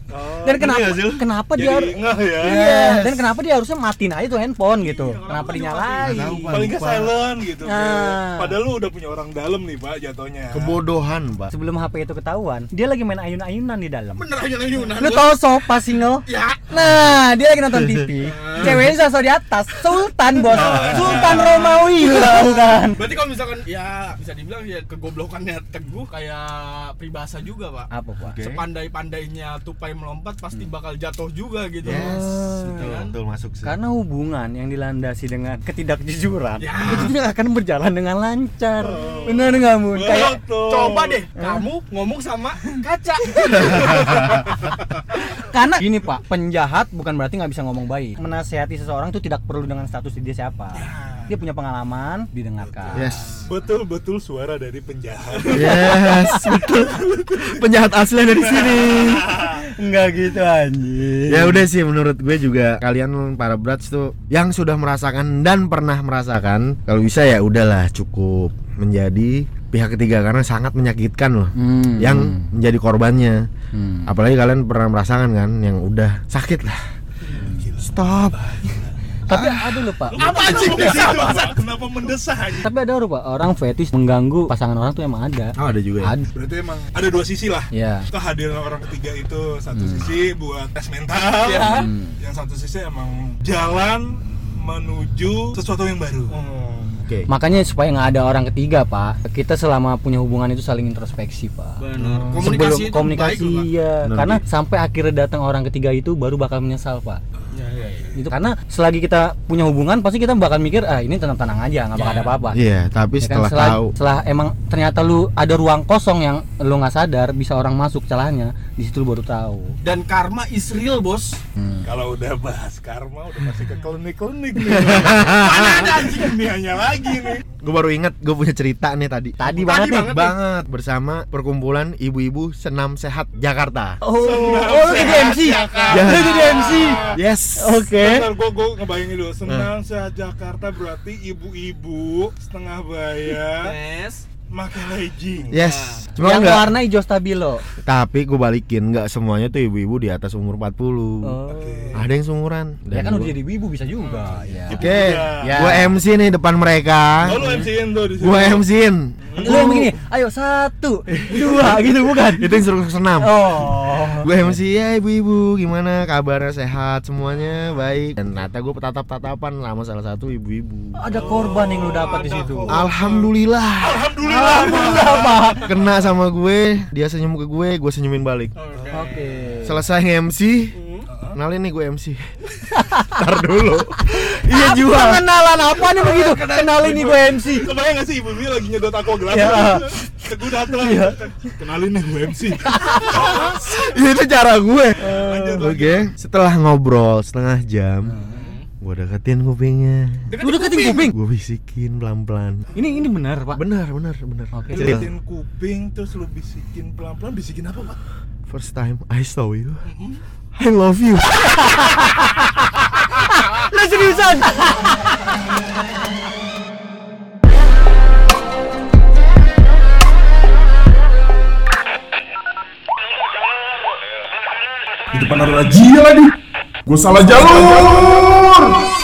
dan kenapa kenapa dia
Oh, iya. Jadi ngeh ya.
iya dan kenapa dia harusnya matiin aja tuh handphone gitu
Iya,
kenapa dinyalain
Nggak tahu, Pak.
Paling nggak
Lupa.
silent gitu.
Ah.
Padahal lu udah punya orang dalam nih pak jatuhnya.
Kebodohan, Pak.
sebelum HP itu ketahuan dia lagi main ayun-ayunan di dalam
Bener aja ayunan.
lu tau sofa single
Ya.
nah dia lagi nonton TV ceweknya sosok di atas Sultan bos
Nah, iya.
Sultan Romawi lu tahu kan
Berarti kalau misalkan ya bisa dibilang ya kegoblokannya teguh kayak peribahasa juga pak.
apa pak
Sepandai-pandainya tupai melompat
Hmm.
pasti bakal jatuh juga gitu. kan?
Yes, betul,
Betul,
betul masuk sih.
karena hubungan yang dilandasi dengan ketidakjujuran
Ya.
itu tidak akan berjalan dengan lancar benar nggak mun kayak
Kayak coba deh kamu ngomong sama kaca.
karena gini pak penjahat bukan berarti nggak bisa ngomong baik menasehati seseorang itu tidak perlu dengan status dia siapa dia punya pengalaman didengarkan
Yes.
Betul-betul suara dari penjahat.
Yes, betul. Penjahat asli dari sini.
nggak gitu anjing
Ya udah sih menurut gue juga kalian para brats tuh yang sudah merasakan dan pernah merasakan kalau bisa ya udahlah cukup menjadi pihak ketiga karena sangat menyakitkan loh
Hmm.
yang menjadi korbannya.
Hmm.
Apalagi kalian pernah merasakan kan yang udah sakit lah. Stop.
tapi ada loh pak
Apa sih Pak? Kenapa mendesah? anjing?
tapi ada loh pak orang fetish mengganggu pasangan orang tuh emang ada
Oh, ada juga ya.
ada
Berarti emang ada dua sisi lah.
ya
Kehadiran orang ketiga itu satu
Hmm.
sisi buat tes mental,
Hmm.
yang satu sisi emang jalan menuju sesuatu yang baru.
Hmm.
Oh.
Oke.
makanya supaya nggak ada orang ketiga pak kita selama punya hubungan itu saling introspeksi pak
Benar.
sebelum
Komunikasi itu
komunikasi
baik loh, Pak.
iya.
Benar.
karena sampai akhirnya datang orang ketiga itu baru bakal menyesal pak
Ya, ya, ya.
itu karena selagi kita punya hubungan pasti kita bakal mikir ah ini tenang tenang aja nggak bakal ada apa-apa
Iya, tapi
Ya kan,
setelah
setelah,
tahu
setelah emang ternyata lu ada ruang kosong yang lu nggak sadar bisa orang masuk celahnya di situ lu baru tahu
Dan karma is real, Bos.
Kalau udah bahas karma udah pasti ke klinik-klinik nih. Mana ada anjing dunianya lagi nih.
Gue baru inget gue punya cerita nih tadi
tadi banget nih
banget, bersama perkumpulan ibu-ibu senam sehat Jakarta.
oh, oh lu jadi MC lu jadi MC
Yes.
oke
Eh?
Bentar gue gue ngebayangin dulu.
Hmm.
Senang sehat Jakarta berarti ibu-ibu setengah bayar
Yes.
pakai legging.
Yes. Cuma
yang
enggak.
warna hijau stabilo
Tapi gue balikin nggak semuanya tuh ibu-ibu di atas umur 40.
oh.
Ada yang seumuran.
ya
Dan
kan
gua-
udah jadi wibu bisa juga ya
Iya. Oke, gue MC nih depan mereka.
Oh lu MC-in tuh di situ.
Gue MC-in.
Lu yang begini, ayo satu, dua gitu bukan?
Itu instruksi senam.
Oh.
gue masih ya ibu-ibu gimana kabarnya sehat semuanya baik dan ternyata gue tatap tatapan sama salah satu ibu-ibu
Ada korban yang lu dapat di situ.
alhamdulillah
Alhamdulillah.
kena sama gue dia senyum ke gue gue senyumin balik
Oke.
selesai MC kenalin nih gue MC ntar dulu iya jual
Kenalan apa nih begitu? Kenalin nih gue MC.
ya
Kebayang gak sih ibu ini lagi nyedot aku gelas?
Iya.
Ya.
Teguh datang.
kenalin nih gue MC
Iya, itu cara gue oke setelah ngobrol setengah jam gue deketin kupingnya
Lu deketin kuping.
gue bisikin pelan-pelan
Ini ini benar, Pak.
benar benar benar
Oke.
Cerita.
deketin kuping terus lu bisikin pelan-pelan bisikin apa pak?
First time I saw you, I love you.
Lu seriusan?
di depan ada razia lagi gue salah jalur